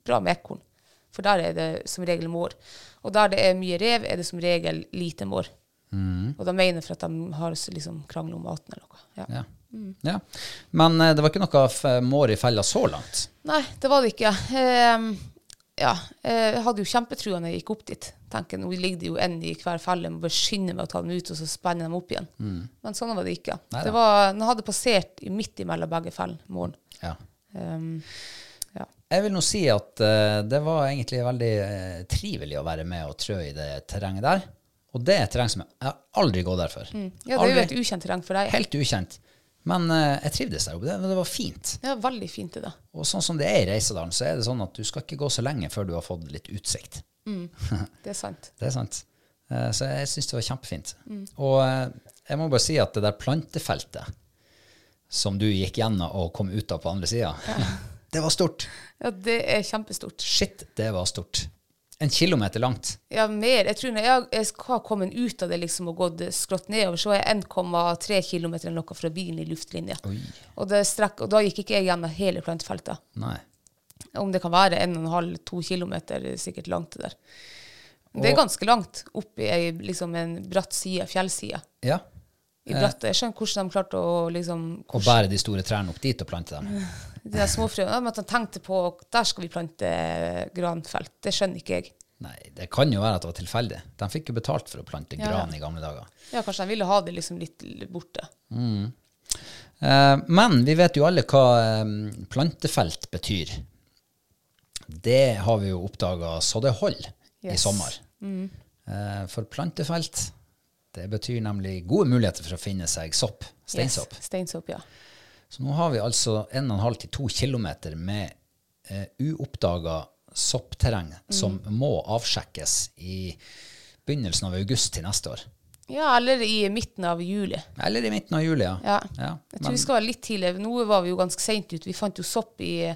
B: bra med ekorn. For der er det som regel mår. Og der det er mye rev, er det som regel lite mår. Og da mener jeg for at de har s- liksom krangler om maten eller noe. Ja.
A: ja. ja. Men eh, det var ikke noe f- mår i fella så langt.
B: Nei, det var det ikke. Ehm, ja, eh, jeg hadde jo kjempetrua når jeg gikk opp dit. Tenker, Nå ligger det jo en i hver felle, må bare skynde meg å ta dem ut, og så spenne dem opp igjen. Men sånn var det ikke.
A: Neida.
B: Det var, den hadde passert i midt imellom begge fellene morgen.
A: Ja.
B: Ehm, ja.
A: Jeg vil nå si at eh, det var egentlig veldig eh, trivelig å være med og trø i det terrenget der. Og det er et terreng som jeg jeg har aldri gått der før.
B: ja, det er jo
A: Aldri.
B: et ukjent terreng for deg.
A: Helt ukjent. Men eh, jeg trivdes der oppe. Det, det var fint.
B: Ja, veldig fint det da.
A: Og sånn som det er i Reisedalen, så er det sånn at du skal ikke gå så lenge før du har fått litt utsikt.
B: Det er sant.
A: Det er sant. Eh, Så jeg syns det var kjempefint.
B: Mm.
A: Og eh, jeg må bare si at det der plantefeltet som du gikk gjennom og kom ut av på andre sida, *laughs* det var stort.
B: Ja, det er kjempestort.
A: Shit, det var stort. En kilometer langt.
B: Ja, mer. Jeg tror når jeg, jeg har kommet ut av det liksom og gått skrått nedover, så er jeg 1,3 km eller noe fra bilen i luftlinje.
A: Oi.
B: Og, det strekk, og da gikk ikke jeg gjennom hele plantefeltet.
A: Nei.
B: om det kan være 1,5-2 km sikkert langt det der. Det
A: Og-
B: er ganske langt opp i ei, liksom en bratt side, fjellside.
A: Ja.
B: I bratt, jeg skjønner hvordan de klarte å liksom
A: Og bære de store trærne opp dit og plante dem.
B: De der småfrøene men At de tenkte på der skal vi plante granfelt. Det skjønner ikke jeg.
A: Nei, det kan jo være at det var tilfeldig. De fikk jo betalt for å plante
B: Ja, ja.
A: gran i gamle dager.
B: Ja, Kanskje de ville ha det liksom litt l- borte.
A: Eh, Men vi vet jo alle hva eh, plantefelt betyr. Det har vi jo oppdaga så det holder i
B: Yes. Mm.
A: sommer. Eh, For plantefelt, det betyr nemlig gode muligheter for å finne seg sopp, steinsopp.
B: Yes, Steinsopp, ja.
A: Så nå har vi altså 1,5 til 2 km med eh, uoppdaga soppterreng
B: Mm.
A: som må avsjekkes i begynnelsen av august til neste år.
B: Ja, eller i midten av juli.
A: Eller i midten av juli, ja.
B: Ja.
A: Ja,
B: Jeg tror vi skal være litt tidligere. Nå var vi jo ganske seint ute. Vi fant jo sopp i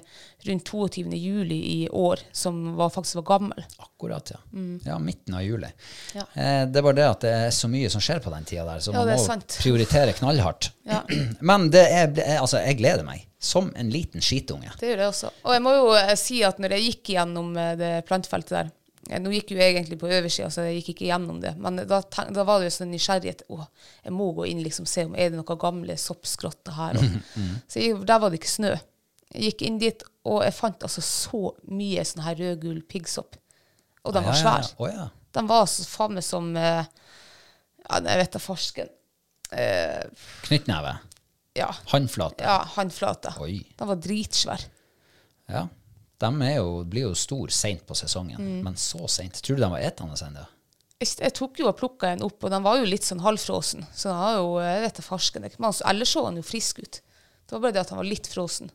B: rundt 22. juli i år, som var, faktisk var gammel.
A: Akkurat, ja. Ja, midten av juli.
B: Mm. Ja.
A: Eh, det er bare det at det er så mye som skjer på den tida der, så
B: Ja,
A: man
B: det er
A: må
B: sant.
A: prioritere knallhardt.
B: *laughs* Ja.
A: *clears throat* Men det er, det er, altså, jeg gleder meg. Som en liten skitunge.
B: Det gjør jeg også. Og jeg må jo eh, si at når jeg gikk gjennom eh, det plantefeltet der eh, Nå gikk jo jeg egentlig på oversida, så jeg gikk ikke gjennom det. Men da, tenk, da var det jo sånn nysgjerrighet. Å, jeg må gå inn liksom se om er det noen gamle soppskrotter her. Og,
A: Mhm,
B: Så jeg, der var det ikke snø. Jeg gikk inn dit, og jeg fant altså så mye sånn her rødgul piggsopp. Og den var svær.
A: Å ja.
B: Den var så faen meg som eh, Ja, jeg vet da farsken. Eh,
A: Knyttneve.
B: ja.
A: Håndflate.
B: ja Håndflata.
A: Oi.
B: Den var dritsvær.
A: Ja. De er jo, blir jo stor seint på sesongen,
B: Mm.
A: men så seint. Tror du de var etende ennå?
B: jeg, jeg tok jo og plukka en opp, og den var jo litt sånn halvfrosen. Så den var jo, jeg vet da farsken. ikke, Men altså, ellers så han jo frisk ut. Det var bare det at han var litt frosen.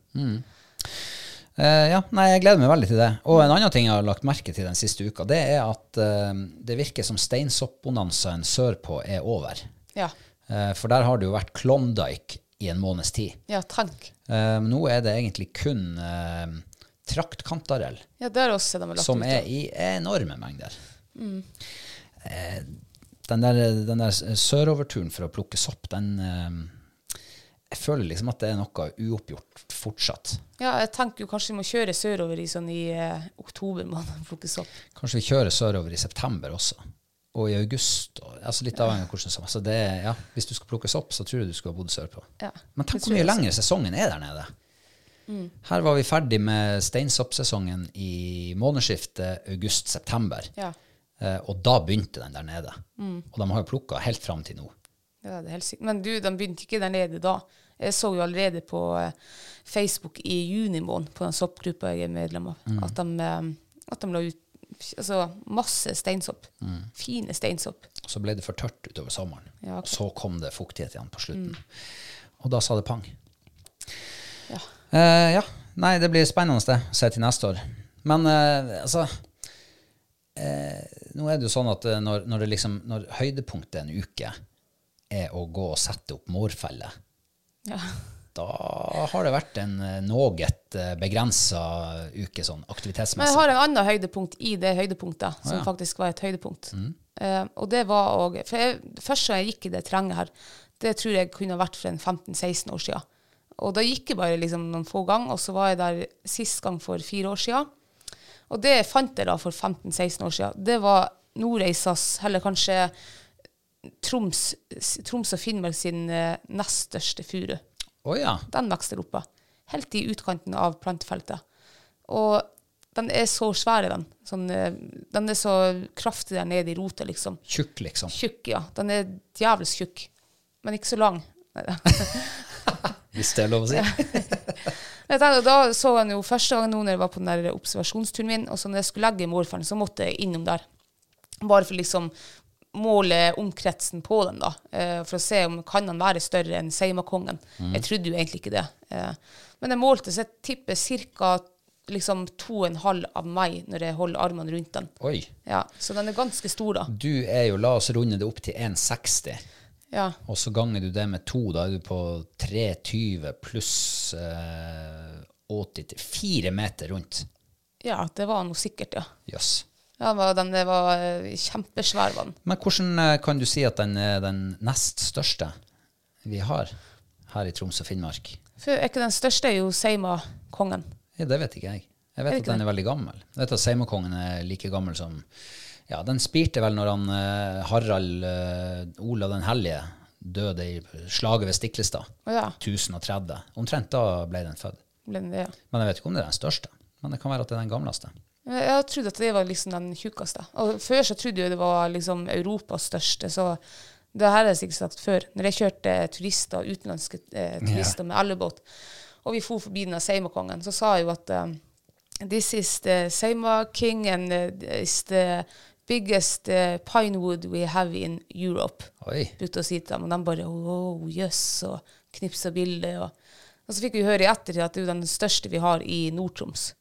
A: Eh, ja, nei, jeg gleder meg veldig til det. Og en annen ting jeg har lagt merke til den siste uka, det er at eh, det virker som steinsoppbonanzaen sørpå er over.
B: Ja.
A: Eh, For der har det jo vært Klondyke i en måneds tid.
B: ja, tenk.
A: Eh, Nå er det egentlig kun eh, traktkantarell
B: Ja, der også de har lagt
A: som
B: ut. Mm.
A: er i enorme mengder. Eh, Den der, den der søroverturen for å plukke sopp, den, eh, jeg føler liksom at det er noe uoppgjort fortsatt.
B: Ja, jeg tenker jo kanskje vi må kjøre sørover i sånn i eh, oktober *laughs* måned og plukke sopp.
A: Kanskje vi kjører sørover i september også. Og i august. Og, altså litt avhengig av hvordan som altså det, ja, Hvis du skal plukkes opp, så tror jeg du skulle ha bodd sørpå.
B: Ja,
A: Men
B: det
A: tenk hvor mye
B: tror jeg Mm. også.
A: lenger sesongen er der nede. Her var vi ferdig med steinsoppsesongen i månedsskiftet august-september.
B: Ja. Mm.
A: Eh, og da begynte den der nede. Og de har jo plukka helt fram til nå.
B: Ja, det er helt sikkert. Men du, de begynte ikke der nede da. Jeg så jo allerede på eh, Facebook i juni måned, på den soppgruppa jeg er medlem av,
A: Mm.
B: at, de, eh, at de la ut altså, masse steinsopp.
A: Mm.
B: Fine steinsopp.
A: Og så ble det for tørt utover sommeren.
B: Ja, Mm.
A: Og så kom det fuktighet igjen på slutten. Og da sa det pang.
B: Ja.
A: Eh, ja. Nei, det blir spennende det, å se til neste år. Men eh, altså eh, Nå er det jo sånn at eh, når, når, det liksom, når høydepunktet en uke er å gå og sette opp mårfelle,
B: Ja.
A: da har det vært en eh, noget begrensa uke sånn
B: Men
A: aktivitetsmessig.
B: jeg har en annen høydepunkt i det høydepunktet, som
A: ja.
B: faktisk var et høydepunkt. Eh, og det var òg For jeg, først da jeg gikk i det terrenget her, det tror jeg kunne ha vært for en 15-16 år siden. Og da gikk jeg bare liksom noen få ganger, og så var jeg der sist gang for fire år siden. Og det jeg fant jeg da for 15-16 år siden, det var Nordreisas, eller kanskje Troms, Troms og Finnmark sin eh, nest største furu
A: Å ja.
B: den vokser oppe. Helt i utkanten av plantefeltet. Og den er så svær, den. Sånn, eh, den er så kraftig der nede i rota, liksom.
A: Tjukk, liksom.
B: Tjukk, ja. Den er djevelsk tjukk. Men ikke så lang. Neida.
A: Hvis det er lov å si.
B: Men jeg tenkte, da så han jo første gang nå når jeg var på den der observasjonsturen min, og så når jeg skulle legge morfaren, så måtte jeg innom der. Bare for liksom måle omkretsen på den, da. eh, For å se om kan han være større enn Seimakongen. Jeg trodde jo egentlig ikke det. Eh, Men jeg målte, så jeg tipper ca. Liksom to og en halv av meg når jeg holder armene rundt den.
A: Oi.
B: Ja, Så den er ganske stor, da.
A: Du er jo La oss runde det opp til 1,60.
B: Ja.
A: Og så ganger du det med to, da er du på 3,20 pluss eh, 80 til 4 meter rundt.
B: ja, det var noe sikkert, ja.
A: Jøss.
B: ja den var- den det var eh, kjempesvær, var den.
A: Men hvordan eh, kan du si at den er den nest største vi har her i Troms og Finnmark?
B: For er ikke den største er jo Seimakongen?
A: Ja, det vet ikke jeg. Jeg vet at den er veldig gammel. Jeg vet at Seimakongen er like gammel som Ja, den spirte vel når han eh, Harald eh, Olav den hellige døde i slaget ved Stiklestad.
B: Å ja.
A: 1030. Omtrent da ble den født.
B: Ble den det, ja.
A: Men jeg vet ikke om det er den største. Men det kan være at det er den gamleste.
B: Jeg jeg trodde at det var liksom den tjukkeste. Og før så trodde jeg det var liksom Europas største, så det her har jeg sikkert sagt før. Når jeg kjørte turister, utenlandske eh, turister med elgebåt, og vi for forbi den Seimakongen, så sa jeg jo at eh, This is the Seima king and eh, is the biggest eh, pine wood we have in Europe
A: Oi.
B: brukte å si til dem, og de bare «Wow, jøss, og knipsa bilder. Og, og så fikk vi høre i ettertid at det er jo den største vi har i Nord-Troms.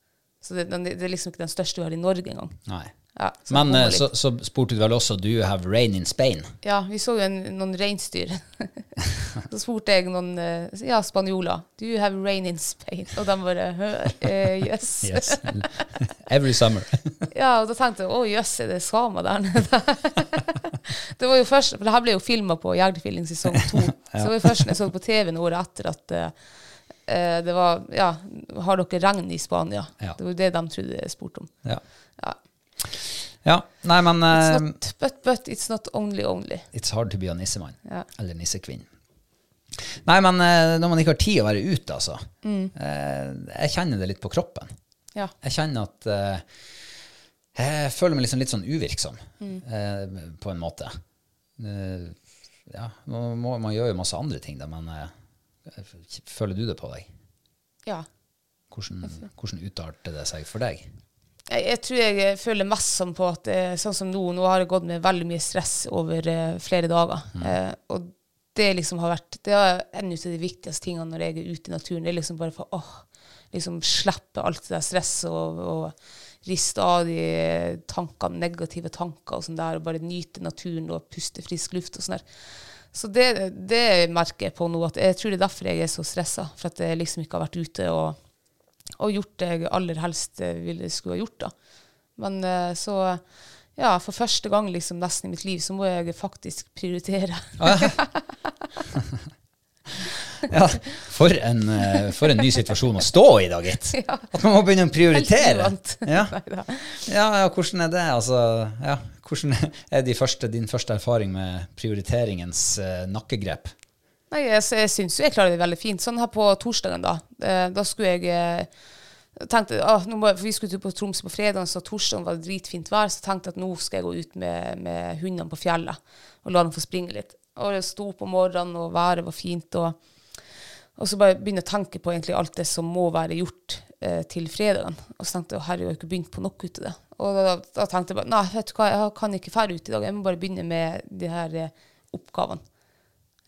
B: Så det, den, det er liksom ikke den største vi har i Norge engang.
A: Nei.
B: Ja, så
A: Men
B: det
A: eh,
B: kommer litt.
A: så, så spurte du vel også Do you have rain in Spain?
B: Ja, vi så jo en, noen *laughs* reinsdyr. så spurte jeg noen eh, ja, spanjoler Do you have rain in Spain? Og de bare «Hø, eh, Yes.
A: Yes. *laughs* Every summer.
B: *laughs* Ja, og da tenkte jeg å jøss, er det samer der nede? *laughs* det var jo først, for det her ble jo filma på Jegderfilling sesong
A: *laughs*
B: to. Så det var jo først når jeg så det på TV-en året etter at eh, eh, det var Ja, har dere regn i Spania?
A: Ja.
B: Det var jo det de trodde jeg spurte om.
A: Ja.
B: Ja.
A: ja. Nei, men
B: It's
A: eh,
B: not but, but it's not only only.
A: It's hard to be a nissemann.
B: Ja.
A: Eller nissekvinn. Nei, men eh, når man ikke har tid å være ute, altså.
B: Mm.
A: Eh, jeg kjenner det litt på kroppen.
B: Ja.
A: Jeg kjenner at eh, Jeg føler meg liksom litt sånn uvirksom, eh, på en måte. Eh, ja, man, må, man gjør jo masse andre ting, da, men eh, føler du det på deg?
B: ja.
A: Hvordan, hvordan utarter det seg for deg?
B: Jeg, jeg tror jeg eh, føler mest som på at eh, sånn som nå, nå har jeg gått med veldig mye stress over eh, flere dager. Eh, og det liksom har vært Det er en av de viktigste tingene når jeg er ute i naturen. Det er liksom bare for åh, liksom slippe alt det der stresset og, og riste av de eh, tankene, negative tanker og sånn der, og bare nyte naturen og puste frisk luft og sånn der. Så det, det merker jeg på nå, at jeg tror det er derfor jeg er så stressa. For at jeg liksom ikke har vært ute og og gjort det jeg aller helst eh, ville skulle ha gjort. da. Men eh, så ja, for første gang liksom nesten i *laughs* mitt liv så må jeg faktisk prioritere.
A: Ja, for en, eh, for en ny situasjon å stå i da, gitt. At man må begynne å prioritere.
B: Helt uvant.
A: Ja.
B: Neida.
A: Ja, ja, hvordan er det? Altså, ja, hvordan er de første, din første erfaring med prioriteringens eh, nakkegrep?
B: Nei, jeg, s- jeg syns jo jeg klarer det veldig fint. Sånn her på torsdagen, da. eh, Da skulle jeg eh, tenkte, ah, nå må, jeg- for Vi skulle tur på Tromsø på fredag, så torsdagen var det dritfint vær. Så tenkte jeg at nå skal jeg gå ut med, med hundene på fjellet og la dem få springe litt. Og jeg sto opp om morgenen, og været var fint. og... Og så bare begynne å tenke på egentlig alt det som må være gjort eh, til fredagen. Og så tenkte jeg herregud, jeg har ikke begynt på noe ut av det. Og da, da tenkte jeg bare nei, vet du hva, jeg kan ikke fære ut i dag. Jeg må bare begynne med de her eh, oppgavene.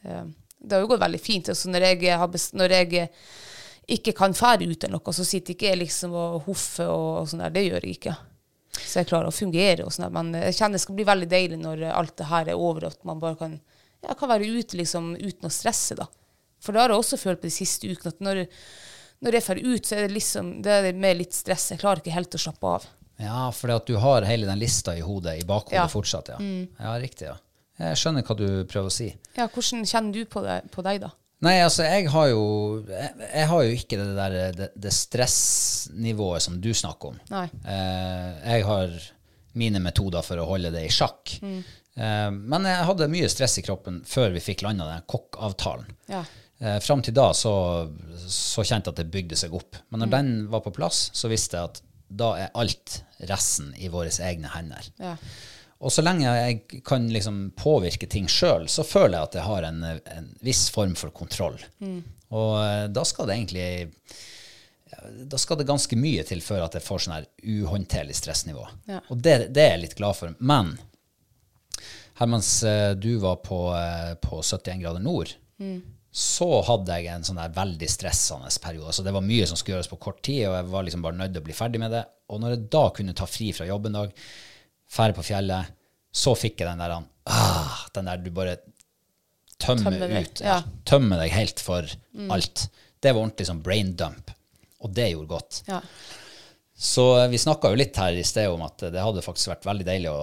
B: Eh, det har jo gått veldig fint. Altså, når, jeg har bes- når jeg eh, ikke kan fære ut eller noe, så sitter ikke jeg liksom og hoffer og, og sånn der. Det gjør jeg ikke. Så jeg klarer å fungere og sånn der. Men jeg kjenner det skal bli veldig deilig når eh, alt det her er over, at man bare kan, ja, kan være ute liksom uten å stresse, da. For det har jeg også følt på de siste ukene, at når, når jeg drar ut, så er det liksom det er med litt stress. Jeg klarer ikke helt å slappe av.
A: Ja, for at du har hele den lista i hodet, i bakhodet
B: Ja. Mm.
A: fortsatt, ja. Ja, riktig, ja. Jeg skjønner hva du prøver å si.
B: Ja, hvordan kjenner du på, det, på deg, da?
A: Nei, altså, jeg har jo, jeg, jeg har jo ikke det der det, det stressnivået som du snakker om.
B: Nei.
A: Eh, jeg har mine metoder for å holde det i sjakk.
B: Mm.
A: Eh, men jeg hadde mye stress i kroppen før vi fikk landa den kokkavtalen.
B: Ja.
A: Eh, Fram til da så, så kjente jeg at det bygde seg opp. Men
B: Mm.
A: når den var på plass, så visste jeg at da er alt resten i våre egne hender.
B: Ja.
A: Og så lenge jeg kan liksom påvirke ting sjøl, så føler jeg at jeg har en, en viss form for kontroll.
B: Mm.
A: Og eh, da skal det egentlig da skal det ganske mye til før at jeg får sånn her uhåndterlig stressnivå.
B: Ja.
A: Og det, det er jeg litt glad for. Men her mens eh, du var på, eh, på 71 grader nord,
B: Mm.
A: så hadde jeg en sånn der veldig stressende periode. Så det var mye som skulle gjøres på kort tid, og jeg var liksom bare nødt til å bli ferdig med det. Og når jeg da kunne ta fri fra jobb en dag, ferde på fjellet, så fikk jeg den der, ah, den der du bare tømme
B: Tømme deg,
A: ut. Ja.
B: ja. Mm.
A: Tømme deg helt for alt. Det var ordentlig sånn brain dump, og det gjorde godt.
B: Ja.
A: Så eh, vi snakka jo litt her i sted om at det hadde faktisk vært veldig deilig å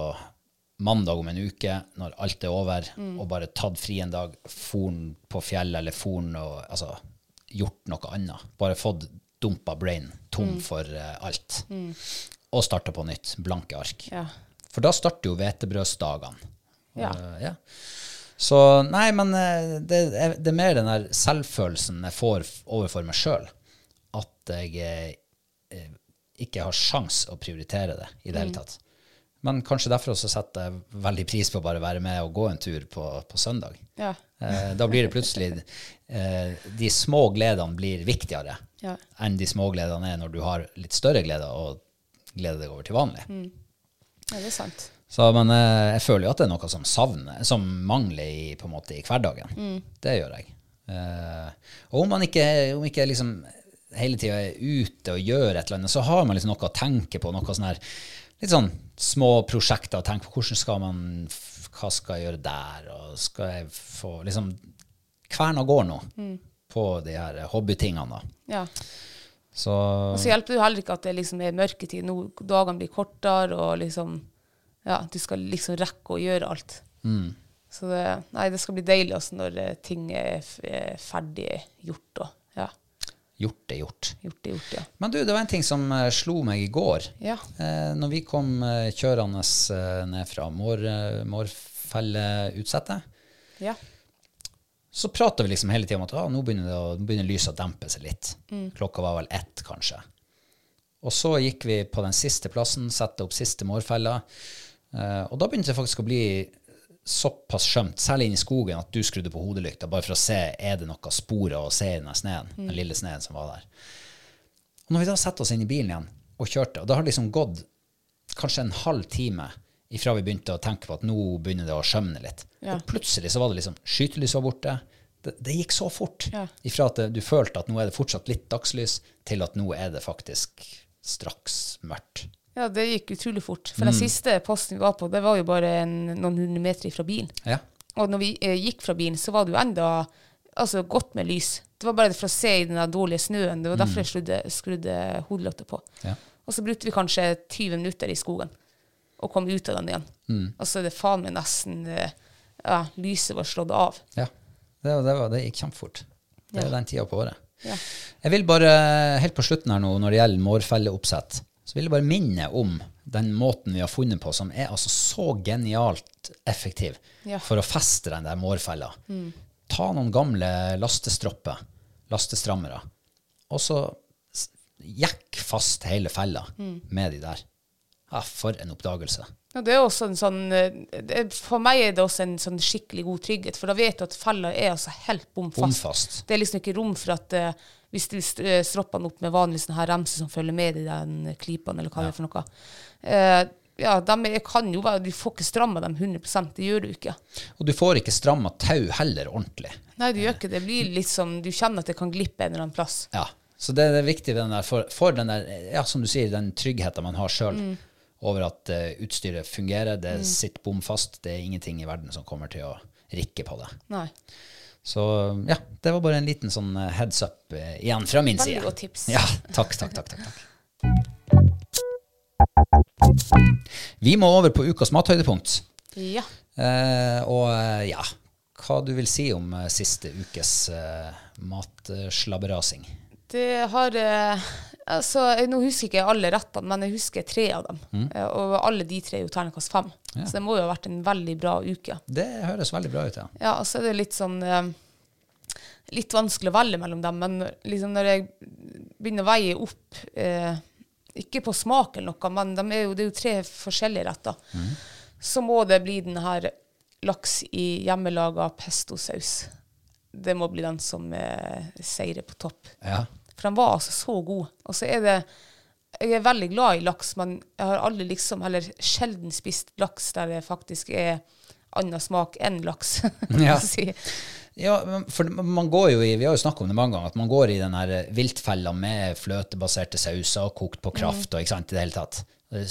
A: mandag om en uke, når alt er over,
B: Mm.
A: og bare tatt fri en dag, forn på fjellet eller forn og altså, gjort noe annet. Bare fått dumpa brain
B: Mm.
A: tom for eh, alt. Og starta på nytt. Blanke ark.
B: Ja.
A: For da starter jo hvetebrødsdagene.
B: Ja.
A: Eh, ja. Så nei, men eh, det, er- det er mer den der selvfølelsen jeg får f- overfor meg sjøl. At jeg eh, eh, ikke har sjans å prioritere det i det hele tatt. Men kanskje derfor også setter jeg veldig pris på å bare være med og gå en tur på, på søndag.
B: Ja.
A: Eh, da blir det plutselig eh, De små gledene blir viktigere
B: Ja.
A: enn de små gledene er når du har litt større gleder og gleder deg over til vanlig.
B: ja, det er sant.
A: Så, men eh, jeg føler jo at det er noe som savner, som mangler i, på en måte, i hverdagen.
B: Mm.
A: Det gjør jeg. Eh, og om man ikke, om ikke liksom hele tida er ute og gjør et eller annet, så har man liksom noe å tenke på. noe sånn her, Litt sånn små prosjekter å tenke på. Hvordan skal man, f- Hva skal jeg gjøre der? og skal jeg få, liksom, Kverna går nå
B: Mm.
A: på de her hobbytingene. da.
B: Ja.
A: Så,
B: Og så hjelper det jo heller ikke at det liksom er mørketid. Nå, dagene blir kortere, og liksom Ja, du skal liksom rekke å gjøre alt. Så det, nei, det skal bli deilig altså, når eh, ting er, f- er ferdig gjort og ja,
A: gjort er gjort.
B: gjort er gjort, ja.
A: Men du, det var en ting som eh, slo meg i går.
B: Ja.
A: Eh, når vi kom eh, kjørende eh, ned fra Mår, eh, Mårfelleutsettet,
B: Ja.
A: så prata vi liksom hele tida om at ah, nå begynner, det å, nå begynner lyset å dempe seg litt. Klokka var vel ett, kanskje. Og så gikk vi på den siste plassen, satte opp siste mårfella. Eh, og da begynte det faktisk å bli såpass skjømt, særlig inne i skogen, at du skrudde på hodelykta bare for å se er det noe spor å se i den sneen, den lille sneen som var der. Og når vi da setter oss inn i bilen igjen og kjørte, og da har det liksom gått kanskje en halv time ifra vi begynte å tenke på at nå begynner det å skjømne litt.
B: Ja.
A: Og plutselig så var det liksom skytelys var borte. Det, det gikk så fort.
B: Ja.
A: Ifra at det, du følte at nå er det fortsatt litt dagslys, til at nå er det faktisk straks mørkt.
B: ja, det gikk utrolig fort. For den siste posten vi var på, det var jo bare en, noen hundre meter fra bilen.
A: Ja.
B: Og når vi eh, gikk fra bilen, så var det jo enda altså, godt med lys. Det var bare for å se i den der dårlige snøen. Det var derfor jeg skrudde, skrudde hodelykta på.
A: Ja.
B: Og så brukte vi kanskje 20 minutter i skogen og kom ut av den igjen. Og så er det faen meg nesten eh, ja, Lyset var slått av.
A: ja. Det, var- det, var, det gikk kjempefort. Det er jo den tida på året.
B: Ja.
A: Jeg vil bare, helt på slutten her nå, når det gjelder mårfelleoppsett, så vil jeg bare minne om den måten vi har funnet på, som er altså så genialt effektiv
B: Ja. Mm.
A: for å feste den der mårfella. Ta noen gamle lastestropper, lastestrammere, og så s- jekk fast hele fella
B: Mm.
A: med de der. Ja, for en oppdagelse.
B: Ja, det er også en sånn eh, det, er- For meg er det også en sånn skikkelig god trygghet, for da vet du at fella er altså helt bom fast.
A: Bomfast.
B: Det er liksom ikke rom for at eh, hvis du st- eh, stropper den opp med vanlig sånn her remse som følger med i den klipen, eller hva det er for noe Eh, Ja, de er- kan jo være Du får ikke stramma dem 100 det gjør du ikke.
A: Og du får ikke stramma tau heller ordentlig.
B: Nei, du gjør ikke det. Det blir litt som Du kjenner at det kan glippe en eller annen plass.
A: Ja, så det er viktig den der for, for den der, ja, som du sier, den tryggheten man har sjøl
B: Mm.
A: over at eh, utstyret fungerer, det sitter bom fast, det er ingenting i verden som kommer til å rikke på det.
B: Nei.
A: Så ja, det var bare en liten sånn eh, heads up eh, igjen fra min
B: Veldig
A: side.
B: godt tips.
A: Ja, takk, takk, takk, takk, takk. Vi må over på ukas mathøydepunkt.
B: Ja.
A: Eh, og eh, ja, hva du vil si om eh, siste ukes eh, matslabberasing?
B: Det har eh, Altså, jeg, nå husker ikke jeg alle rettene, men jeg husker tre av dem. Eh, og alle de tre er jo terningkast fem. Så det må jo ha vært en veldig bra uke.
A: Det høres veldig bra ut, ja.
B: Ja, og så er det litt sånn eh, Litt vanskelig å velge mellom dem, men liksom når jeg begynner å veie opp eh, Ikke på smak eller noe, men de er jo, det er jo tre forskjellige retter. Så må det bli den her laks i hjemmelaga pestosaus. Det må bli den som eh, seirer på topp.
A: ja.
B: For den var altså så god. Og så er det Jeg er veldig glad i laks, men jeg har aldri liksom, eller sjelden spist laks der det faktisk er annen smak enn laks. *laughs* kan
A: Ja.
B: jeg si.
A: Ja, men for man går jo i, Vi har jo snakket om det mange ganger, at man går i den her eh, viltfella med fløtebaserte sauser, kokt på
B: Mm.
A: kraft og ikke sant, i det hele tatt.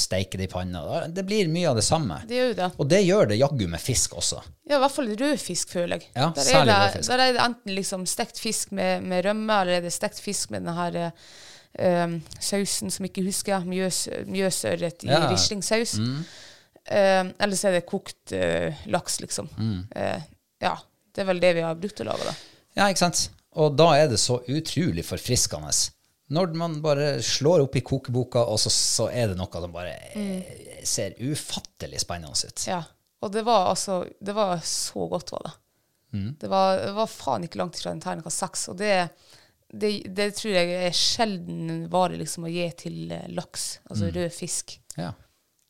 A: Steike det i panna. Det blir mye av det samme.
B: Det gjør jo det.
A: Og det gjør det jaggu med fisk også.
B: Ja, i hvert fall rødfisk, føler jeg.
A: Ja,
B: der, er
A: særlig
B: det,
A: rødfisk.
B: der er det enten liksom stekt fisk med, med rømme, eller er det stekt fisk med den her eh, um, sausen som ikke husker, jeg, mjøs, mjøsørret i
A: Ja. Mm.
B: rislingsaus. Eh, eller så er det kokt eh, laks, liksom.
A: Mm.
B: Eh, ja. Det er vel det vi har brukt å lage, da.
A: Ja, ikke sant? Og da er det så utrolig forfriskende. Når man bare slår opp i kokeboka, og så, så er det noe som bare eh, ser ufattelig spennende ut.
B: Mm. Ja. Og det var altså Det var så godt, var det. Det, var, det var faen ikke langt fra en terningkast seks. Og det, det, det tror jeg er sjelden en vare liksom, å gi til eh, laks, altså rød fisk.
A: Ja.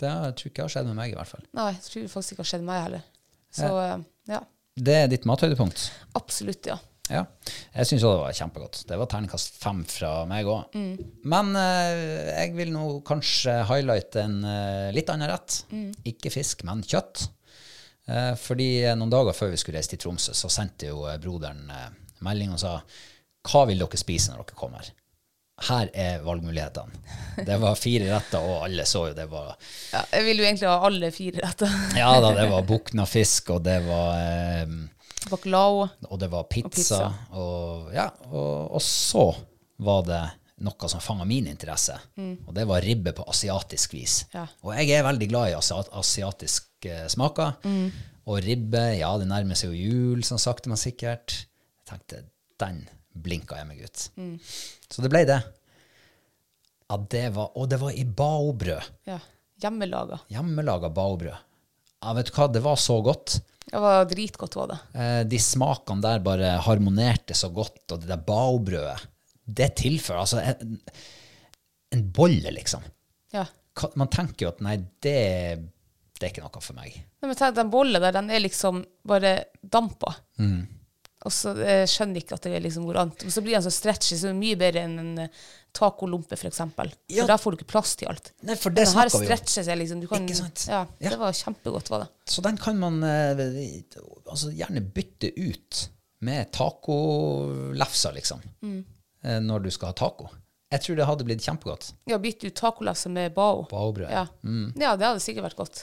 A: Det har- tror ikke jeg har skjedd med meg, i hvert fall.
B: Nei, jeg tror faktisk ikke har skjedd meg heller. Så eh, ja,
A: Det er ditt mathøydepunkt.
B: absolutt, ja.
A: Ja. Jeg syns det var kjempegodt. Det var terningkast fem fra meg òg. Men eh, jeg vil nå kanskje highlighte en eh, litt annen rett. Ikke fisk, men kjøtt. Eh, fordi eh, noen dager før vi skulle reise til Tromsø, så sendte jo eh, broderen eh, melding og sa Hva vil dere spise når dere kommer? Her er valgmulighetene. Det var fire retter, og alle så jo det var
B: ja. Jeg vil jo egentlig ha alle fire retter.
A: Ja da, det var bukna fisk, og det var eh,
B: Bacalao.
A: og det var pizza, og,
B: pizza.
A: ja, og, og så var det noe som fanga min interesse, og det var ribbe på asiatisk vis.
B: Mm. Ja.
A: Og jeg er veldig glad i asia asiatiske smaker,
B: Mm.
A: og ribbe, ja, det nærmer seg jo jul, sånn sakte, men sikkert. Jeg tenkte, den blinka jeg meg ut.
B: Mm.
A: Så det ble det. Ja, det var, og det var i baobrød.
B: Ja. Hjemmelaga.
A: Hjemmelaga baobrød. Ja, vet du hva, det var så godt.
B: Det var dritgodt, var det.
A: Eh, de smakene der bare harmonerte så godt, og det der baobrødet, det tilfører altså en, en bolle, liksom.
B: Ja.
A: Hva- Man tenker jo at nei, det, det er ikke noe for meg.
B: Nei, men tenk, den bollen der, den er liksom bare dampa.
A: Mm.
B: Og så eh, skjønner jeg ikke at det liksom går an. Og så blir den så stretchy, så det er mye bedre enn en eh, tacolompe, for eksempel. For
A: Ja.
B: der får du ikke plass til alt.
A: Nei, for
B: Den
A: det
B: her
A: snakker vi om.
B: stretcher seg liksom. Du kan,
A: Ikke sant?
B: Ja,
A: Ja.
B: det var kjempegodt, var det.
A: Så den kan man eh, altså, gjerne bytte ut med tacolefser, liksom. Eh, når du skal ha taco. Jeg tror det hadde blitt kjempegodt.
B: Ja, bytte ut tacolefse med bao.
A: Baobrød.
B: Ja.
A: Mm.
B: ja, det hadde sikkert vært godt.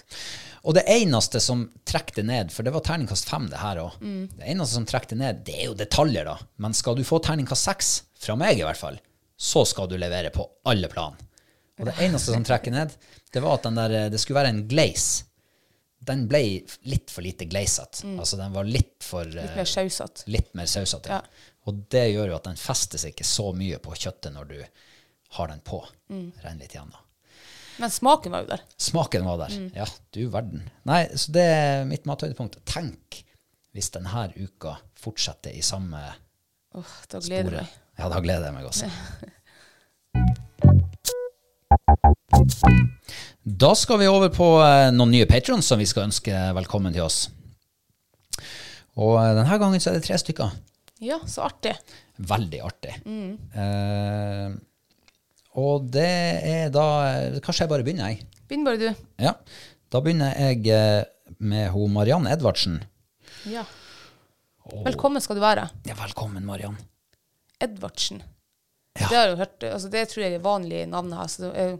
A: Og det eneste som trekker det ned, for det var terningkast fem, det her òg.
B: Mm.
A: Det eneste som trekker det ned, det er jo detaljer, da. Men skal du få terningkast seks, fra meg i hvert fall, så skal du levere på alle plan. Og det eneste som trekker ned, det var at den der, eh, det skulle være en glaze. den ble litt for lite glazet. Altså den var litt for
B: Mm.
A: eh,
B: Litt mer sausete.
A: litt mer sausete.
B: Ja.
A: Og det gjør jo at den fester seg ikke så mye på kjøttet når du har den på.
B: Mm.
A: Renn litt igjen da.
B: Men smaken var jo der.
A: Smaken var der.
B: Mm.
A: Ja, du verden. Nei, så det er mitt mathøydepunkt. Tenk hvis denne uka fortsetter i samme
B: Åh, da gleder jeg
A: sporet.
B: meg.
A: Ja, da gleder jeg meg
B: *laughs*
A: også. Da skal vi over på eh, noen nye patrons som vi skal ønske velkommen til oss. Og eh, denne gangen så er det tre stykker.
B: Ja, så artig.
A: Veldig artig.
B: Mm.
A: Eh, og det er da eh, Kanskje jeg bare begynner, jeg.
B: Begynn bare, du.
A: Ja. Da begynner jeg eh, med hun Mariann Edvardsen.
B: Ja. Velkommen skal du være.
A: Ja, velkommen, Mariann.
B: Edvardsen.
A: Ja.
B: Det har jeg jo hørt, altså det tror jeg er vanlig navn her. Så det- jeg,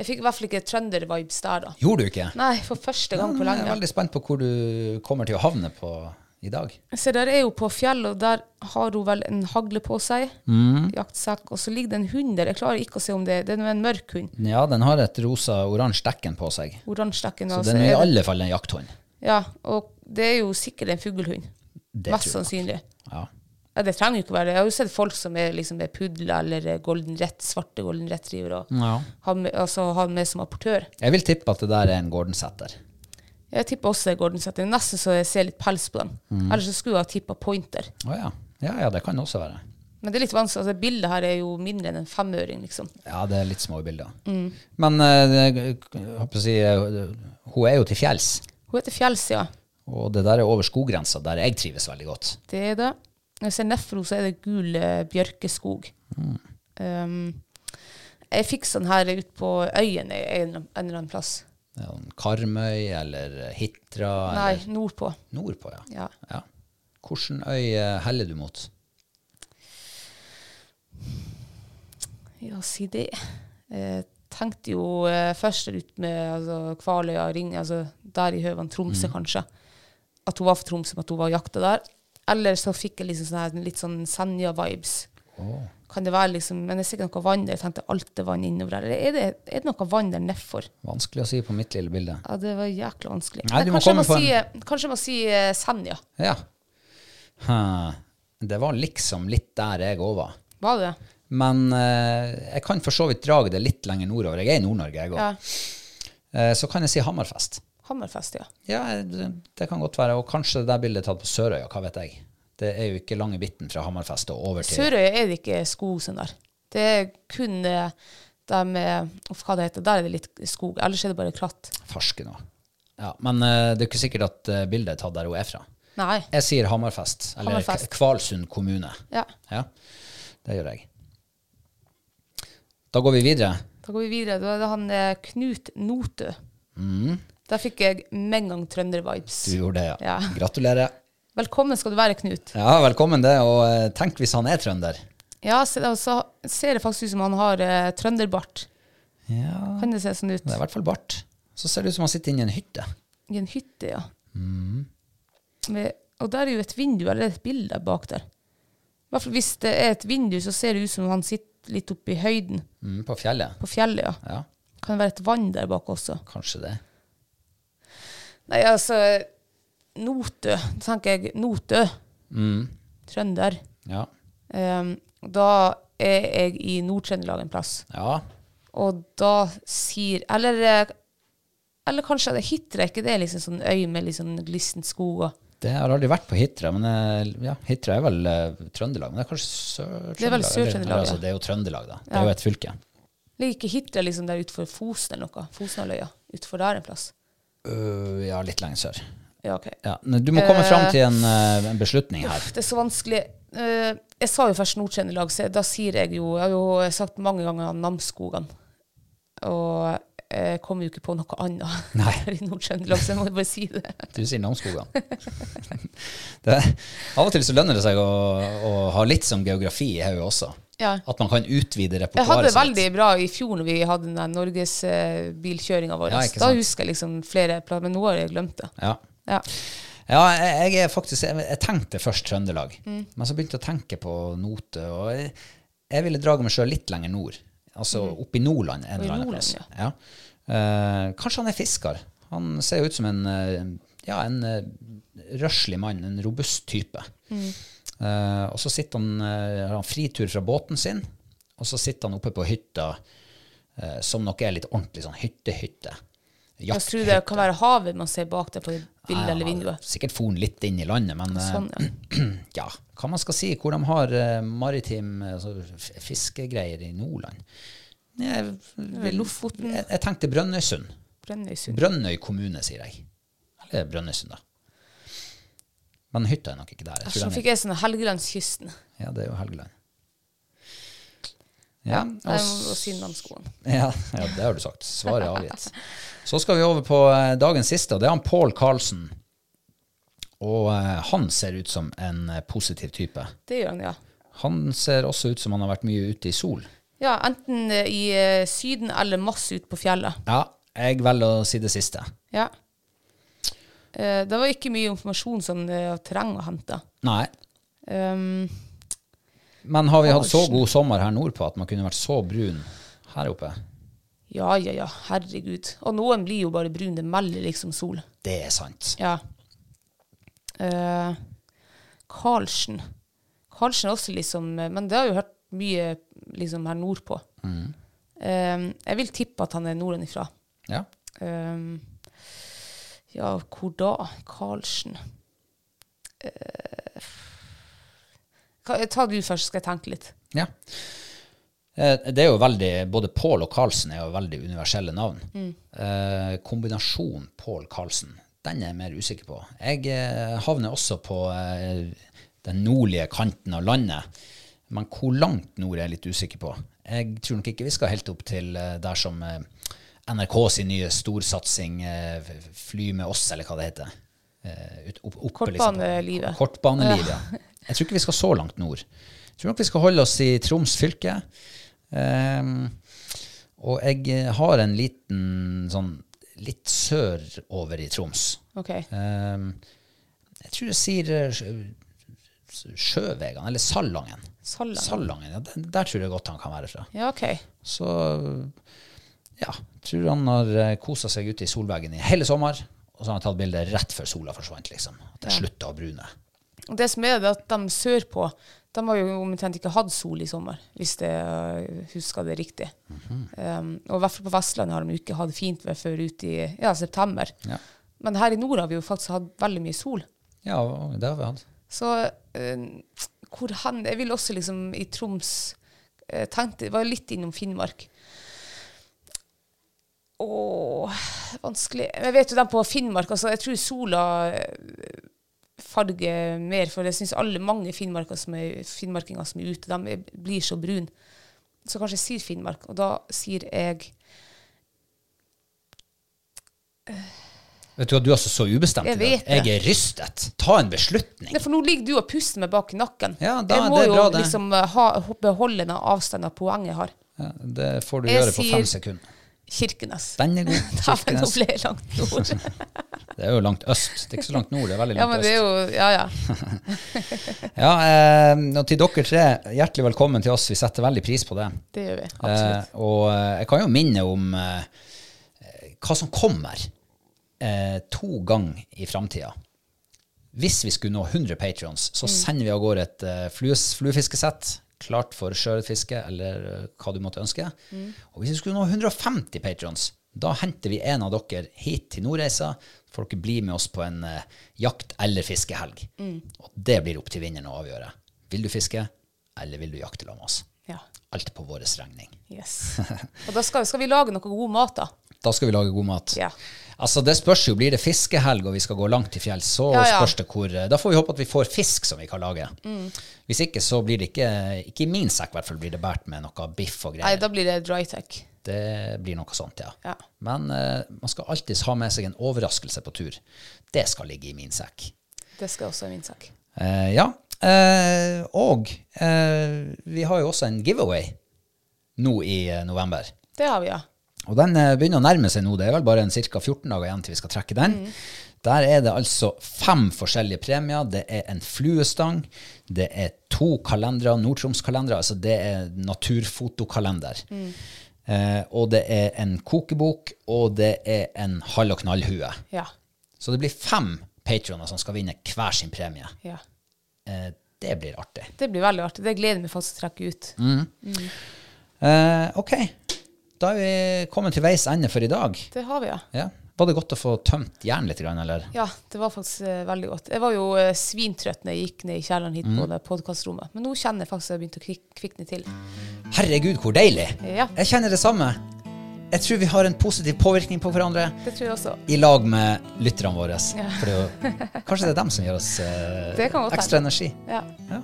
B: jeg fikk i hvert fall ikke trønder-vibes der, da.
A: Gjorde du ikke?
B: Nei, for første gang
A: Nå
B: på
A: er Jeg er
B: lenge.
A: veldig spent på hvor du kommer til å havne på i dag.
B: Se, der er jo på fjellet, og der har hun vel en hagle på seg.
A: Mm.
B: Jaktsekk. Og så ligger det en hund der. Jeg klarer ikke å se om det Det er nå en mørk hund.
A: Ja, den har et rosa-oransje dekken på seg.
B: Oransje dekken.
A: Så
B: og så
A: den er i
B: altså, er det-
A: alle fall en jakthund.
B: Ja, og det er jo sikkert en fuglehund.
A: Det
B: Mest
A: tror jeg.
B: sannsynlig.
A: Ja.
B: Ja, det trenger jo ikke å være det. Jeg har jo sett folk som er, liksom, er pudler eller eh, golden ret, svarte golden retriever og
A: Ja.
B: har med, altså, har med som apportør.
A: Jeg vil tippe at det der er en Gordon-setter.
B: Jeg tipper også Gordon Setter. Nesten så jeg ser litt pels på dem. Ellers så skulle jeg ha tippa pointer.
A: Å ja. ja. Ja, det kan også være.
B: Men det er litt vanskelig. Altså, bildet her er jo mindre enn en femøring, liksom.
A: Ja, det er litt små bilder. Men eh, det- jeg håper å si, eh, hun er jo til fjells,
B: Hun heter Fjells, ja.
A: og det der er over skoggrensa, der jeg trives veldig godt.
B: Det er det. Når jeg ser nedfor henne, så er det gul eh, bjørkeskog. Um, jeg fikk sånn her ut på øyen en, en eller annen plass.
A: Det er sånn Karmøy eller Hitra
B: Nei,
A: eller
B: nordpå.
A: nordpå, ja.
B: Ja.
A: ja. Hvilken øy eh, heller du mot?
B: Ja, si det. Jeg tenkte jo eh, først ut med altså, Kvaløya, Ring, altså der i Høvan, Tromsø
A: Mm.
B: kanskje. At hun var fra Tromsø, men at hun var og jakta der. Eller så fikk jeg liksom sånn her, litt sånn Senja-vibes. Kan det være liksom, Men det er sikkert noe vann der. Jeg tenkte alt er vann innover der. Eller er det, er det noe vann der nedfor?
A: Vanskelig å si på mitt lille bilde.
B: Ja, det var jækla vanskelig.
A: Nei,
B: Men
A: du må
B: kanskje, jeg
A: komme på
B: si, kanskje jeg må si eh, Senja.
A: Ja. Hm. Det var liksom litt der jeg òg var.
B: Var det det?
A: Men eh, jeg kan for så vidt dra det litt lenger nordover. Jeg er i Nord-Norge, jeg òg.
B: Ja.
A: Eh, så kan jeg si Hammerfest.
B: Hammerfest, ja.
A: Ja, det, det kan godt være. Og kanskje det der bildet er tatt på Sørøya, hva vet jeg. Det er jo ikke lange biten fra Hammerfest og over til
B: Sørøya er det ikke skog sånn der. Det er kun eh, de med Uff, hva det heter. Der er det litt skog. Ellers er det bare klatt.
A: Farsken òg. Ja, men eh, det er ikke sikkert at eh, bildet er tatt der hun er fra.
B: Nei.
A: Jeg sier Hammerfest, eller
B: Hammerfest.
A: K- Kvalsund kommune.
B: Ja.
A: Ja, det gjør jeg. Da går vi videre.
B: Da går vi videre. Da er det han eh, Knut Notø. Der fikk jeg med en gang trønder-vibes.
A: Mm. Du gjorde det, ja.
B: Ja.
A: Gratulerer.
B: Velkommen skal du være, Knut.
A: Ja, velkommen det, og eh, tenk hvis han er trønder.
B: Ja, så, og så ser det faktisk ut som han har eh, trønderbart.
A: Ja,
B: Kan det se sånn ut?
A: det er i hvert fall bart. Så ser det ut som han sitter inne i en hytte.
B: I en hytte, ja.
A: Mm.
B: Med, og der er jo et vindu, eller et bilde bak der. I hvert fall hvis det er et vindu, så ser det ut som han sitter litt oppe i høyden,
A: Mm, på fjellet.
B: på fjellet, ja.
A: Ja,
B: Kan det være et vann der bak også?
A: kanskje det.
B: Nei, altså Notø, tenker jeg. Notø. Trønder.
A: Mm, Ja.
B: Um, da er jeg i Nord-Trøndelag en plass.
A: ja.
B: Og da sier Eller, eh, eller kanskje det er Hitra, ikke det er liksom sånn øy med litt sånn glissent skog og
A: Det har aldri vært på Hitra, men eh, ja, Hitra er vel eh, Trøndelag, men det er kanskje Sør-Trøndelag?
B: Det er vel
A: eller-
B: Sør-Trøndelag,
A: eller, altså,
B: ja.
A: Det er jo Trøndelag, da. Det er jo et fylke.
B: Ligger ikke Hitra liksom der utenfor Fosen eller noe? Fosenhalvøya? Utenfor der en plass?
A: Øh, ja, litt lenger sør.
B: Ja, OK.
A: Ja, men du må komme fram til en, eh, en beslutning her.
B: Det er så vanskelig. Eh, jeg sa jo først Nord-Trøndelag, så da sier jeg jo Jeg har jo sagt mange ganger Namsskogan. Og jeg kommer jo ikke på noe annet *laughs*
A: Nei.
B: her i Nord-Trøndelag, så jeg må jo bare si det.
A: Du sier Namsskogan. *laughs* Det- Av og til så lønner det seg å, å ha litt som geografi i hodet også.
B: Ja.
A: At man kan utvide
B: Jeg hadde
A: repertoaret
B: det veldig bra i fjor når vi hadde den der norgesbilkjøringa vår.
A: Ja, ikke
B: da
A: sant.
B: husker jeg liksom flere plasser, men nå har jeg glemt det.
A: Ja.
B: Ja.
A: Ja, jeg, jeg er faktisk jeg, jeg tenkte først Trøndelag, men så begynte jeg å tenke på Note, og jeg, jeg ville drage meg sjøl litt lenger nord. Altså opp i Nordland en
B: i
A: eller annen
B: Nordland,
A: plass. Ja. Eh, kanskje han er fisker? Han ser jo ut som en, eh, ja, en eh, røslig mann, en robust type. Eh, og så sitter han, eh, har han fritur fra båten sin, og så sitter han oppe på hytta, eh, som nok er litt ordentlig sånn hytte-hytte.
B: Jeg tror det kan være havet man ser bak deg på bildet eller vinduet.
A: Sikkert for han litt inn i landet, men eh,
B: Sånn, ja.
A: *clears throat* ja, hva man skal si, hvor de har eh, maritim eh, altså, f- fiskegreier i Nordland. Jeg, vil-
B: Lofoten.
A: jeg, jeg tenkte Brønnøysund.
B: Brønnøysund.
A: Brønnøy kommune, sier jeg. Eller Brønnøysund, da. Men hytta er nok ikke der. Jeg
B: Så
A: tror den
B: fikk jeg sånn Helgelandskysten.
A: er, ja, det er jo Helgeland. Ja, og,
B: Jeg må
A: s-
B: si navnskolen.
A: ja, ja, det har du sagt. Svaret er avgitt. Så skal vi over på eh, dagens siste, og det er han Pål Karlsen. Og eh, han ser ut som en eh, positiv type.
B: Det gjør han, ja.
A: Han ser også ut som han har vært mye ute i sol.
B: Ja, enten eh, i eh, Syden eller masse ut på fjellet.
A: Ja, jeg velger å si det siste.
B: Ja. Eh, det var ikke mye informasjon sånn eh, av terreng å hente.
A: Nei.
B: Um,
A: Men har vi hatt så god sommer her nordpå at man kunne vært så brun her oppe?
B: ja, ja, ja. Herregud. Og noen blir jo bare brun. Det melder liksom sol.
A: Det er sant.
B: Ja. Eh, Karlsen. Karlsen er også liksom eh, Men det har jeg jo hørt mye liksom her nordpå. Eh, jeg vil tippe at han er nordenifra.
A: Ja.
B: Ehm, ja, hvor da? Karlsen. Eh, ka- ta du først, så skal jeg tenke litt.
A: ja. Eh, Det er jo veldig, Både Pål og Karlsen er jo veldig universelle navn. Eh, kombinasjonen Pål-Karlsen, den er jeg mer usikker på. Jeg eh, havner også på eh, den nordlige kanten av landet. Men hvor langt nord er jeg litt usikker på. Jeg tror nok ikke vi skal helt opp til eh, der som eh, NRK sin nye storsatsing eh, f- Fly med oss, eller hva det heter. Eh, ut- opp- oppe, liksom.
B: Kortbanelivet.
A: Kortbanelivet, ja. Jeg tror ikke vi skal så langt nord. Jeg tror nok vi skal holde oss i Troms fylke. Ehm, og jeg eh, har en liten sånn litt sørover i Troms.
B: Ok.
A: Ehm, jeg tror jeg sier eh, sjø- Sjøvegan, eller Salangen.
B: Salangen.
A: ja, der, der tror jeg godt han kan være fra.
B: Ja, ok.
A: Så ja, tror han har kosa seg ute i solveggen i hele sommer, og så har han tatt bilde rett før sola forsvant, liksom. At det slutta å brune.
B: Og det som er, det er at de sørpå de har jo omtrent ikke hatt sol i sommer, hvis jeg eh, husker det riktig. Ehm, og i hvert fall på Vestlandet har de jo ikke hatt fint vær før ut i ja, september.
A: Ja.
B: Men her i nord har vi jo faktisk hatt veldig mye sol.
A: Ja, og det har vi hatt.
B: Så eh, hvor hen Jeg vil også liksom i Troms eh, tenkte, Var litt innom Finnmark. Åh, vanskelig Jeg vet jo den på Finnmark. altså Jeg tror sola eh, farger mer, for jeg syns alle mange finnmarker som er, finnmarkinger som er ute, de er, blir så brune. Så kanskje jeg sier Finnmark, og da sier jeg
A: Vet du hva, du er altså så ubestemt
B: Jeg
A: i dag.
B: vet det.
A: Jeg er rystet. Ta en beslutning.
B: Nei, for nå ligger du og puster meg bak i nakken.
A: Ja, da-
B: jeg må
A: det er
B: jo
A: bra, det.
B: liksom eh, ha, beholde den avstanden poenget har.
A: Ja, det får du
B: Jeg
A: gjøre på
B: sier-
A: fem sekunder.
B: Kirkenes.
A: Den er
B: *laughs*
A: god.
B: Ja, men nå
A: Kirkenes.
B: ble jeg langt
A: *laughs*
B: nord.
A: Det er jo langt øst. Det er ikke så langt nord, det er veldig
B: Ja,
A: langt
B: men det er
A: øst.
B: jo Ja, ja.
A: Ja, eh, og til dere tre, hjertelig velkommen til oss. Vi setter veldig pris på det.
B: Det gjør vi.
A: Eh, og eh, jeg kan jo minne om eh, hva som kommer eh, to ganger i framtida. Hvis vi skulle nå 100 patrions, så sender vi av gårde et eh, flues- fluefiskesett klart for sjøørretfiske eller eh, hva du måtte ønske. Og hvis vi skulle nå 150 patrions, da henter vi en av dere hit til Nordreisa. Får dere bli med oss på en eh, jakt- eller fiskehelg. Og det blir opp til vinneren å avgjøre. Vil du fiske, eller vil du jakte sammen med oss?
B: Ja.
A: Alt på vår regning. *laughs*
B: Yes. Og da skal, skal vi lage noe god mat, da.
A: Da skal vi lage god mat.
B: Ja.
A: Altså, det spørs jo, blir det fiskehelg og vi skal gå langt til fjells, så
B: Ja, Mm. ja.
A: spørs det hvor eh, Da får vi håpe at vi får fisk som vi kan lage. Hvis ikke, så blir det ikke Ikke i min sekk, i hvert fall, blir det båret med noe biff og
B: Nei,
A: greier.
B: da blir det drytech.
A: Det blir noe sånt, ja.
B: Ja.
A: Men eh, man skal alltids ha med seg en overraskelse på tur. Det skal ligge i min sekk.
B: Det skal også være min sak.
A: Eh, ja. Eh, og eh, vi har jo også en giveaway nå i eh, november.
B: Det har vi, ja.
A: Og den eh, begynner å nærme seg nå. Det er vel bare en ca. 14 dager igjen til vi skal trekke den. Der er det altså fem forskjellige premier. Det er en fluestang. Det er to kalendere, Nord-Troms-kalendere. Altså det er naturfotokalender. Eh, og det er en kokebok, og det er en halv- og knallhue.
B: Ja.
A: Så det blir fem patroner som skal vinne hver sin premie.
B: ja.
A: Eh, det blir artig.
B: Det blir veldig artig. Det gleder jeg meg faktisk til å trekke ut.
A: Mm. Eh, ok, da er vi kommet til veis ende for i dag.
B: Det har vi, ja.
A: Ja. Var det godt å få tømt hjernen litt, grann, eller?
B: Ja, det var faktisk eh, veldig godt. Jeg var jo eh, svintrøtt når jeg gikk ned i kjelleren hit
A: Mm.
B: på det podkastrommet, men nå kjenner jeg faktisk at jeg begynte å kvik kvikne til.
A: Herregud, hvor deilig!
B: Ja.
A: Jeg kjenner det samme. Jeg tror vi har en positiv påvirkning på hverandre
B: Det tror jeg også.
A: i lag med lytterne våre. For det er jo, kanskje det er dem som gir oss eh,
B: *laughs* Det kan godt
A: ekstra
B: hende.
A: energi.
B: Ja,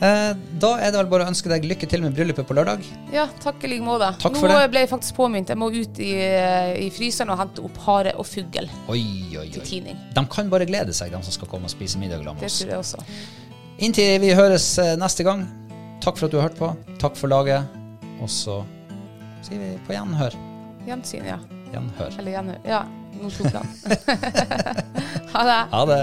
A: Eh, da er det vel bare å ønske deg lykke til med bryllupet på lørdag.
B: ja takk i like måte.
A: Takk
B: nå
A: for det.
B: ble jeg faktisk påminnet. Jeg må ut i, eh, i fryseren og hente opp hare og fugl
A: Oi, oi,
B: til
A: oi.
B: tining.
A: De kan bare glede seg, de som skal komme og spise middag sammen med
B: Det
A: oss.
B: tror jeg også.
A: Inntil vi høres eh, neste gang, takk for at du har hørt på. Takk for laget. Og så sier vi på gjenhør.
B: Gjensyn, ja.
A: Gjenhør.
B: Eller gjenhør. Ja, nå tok han. *laughs* ha det.
A: Ha det.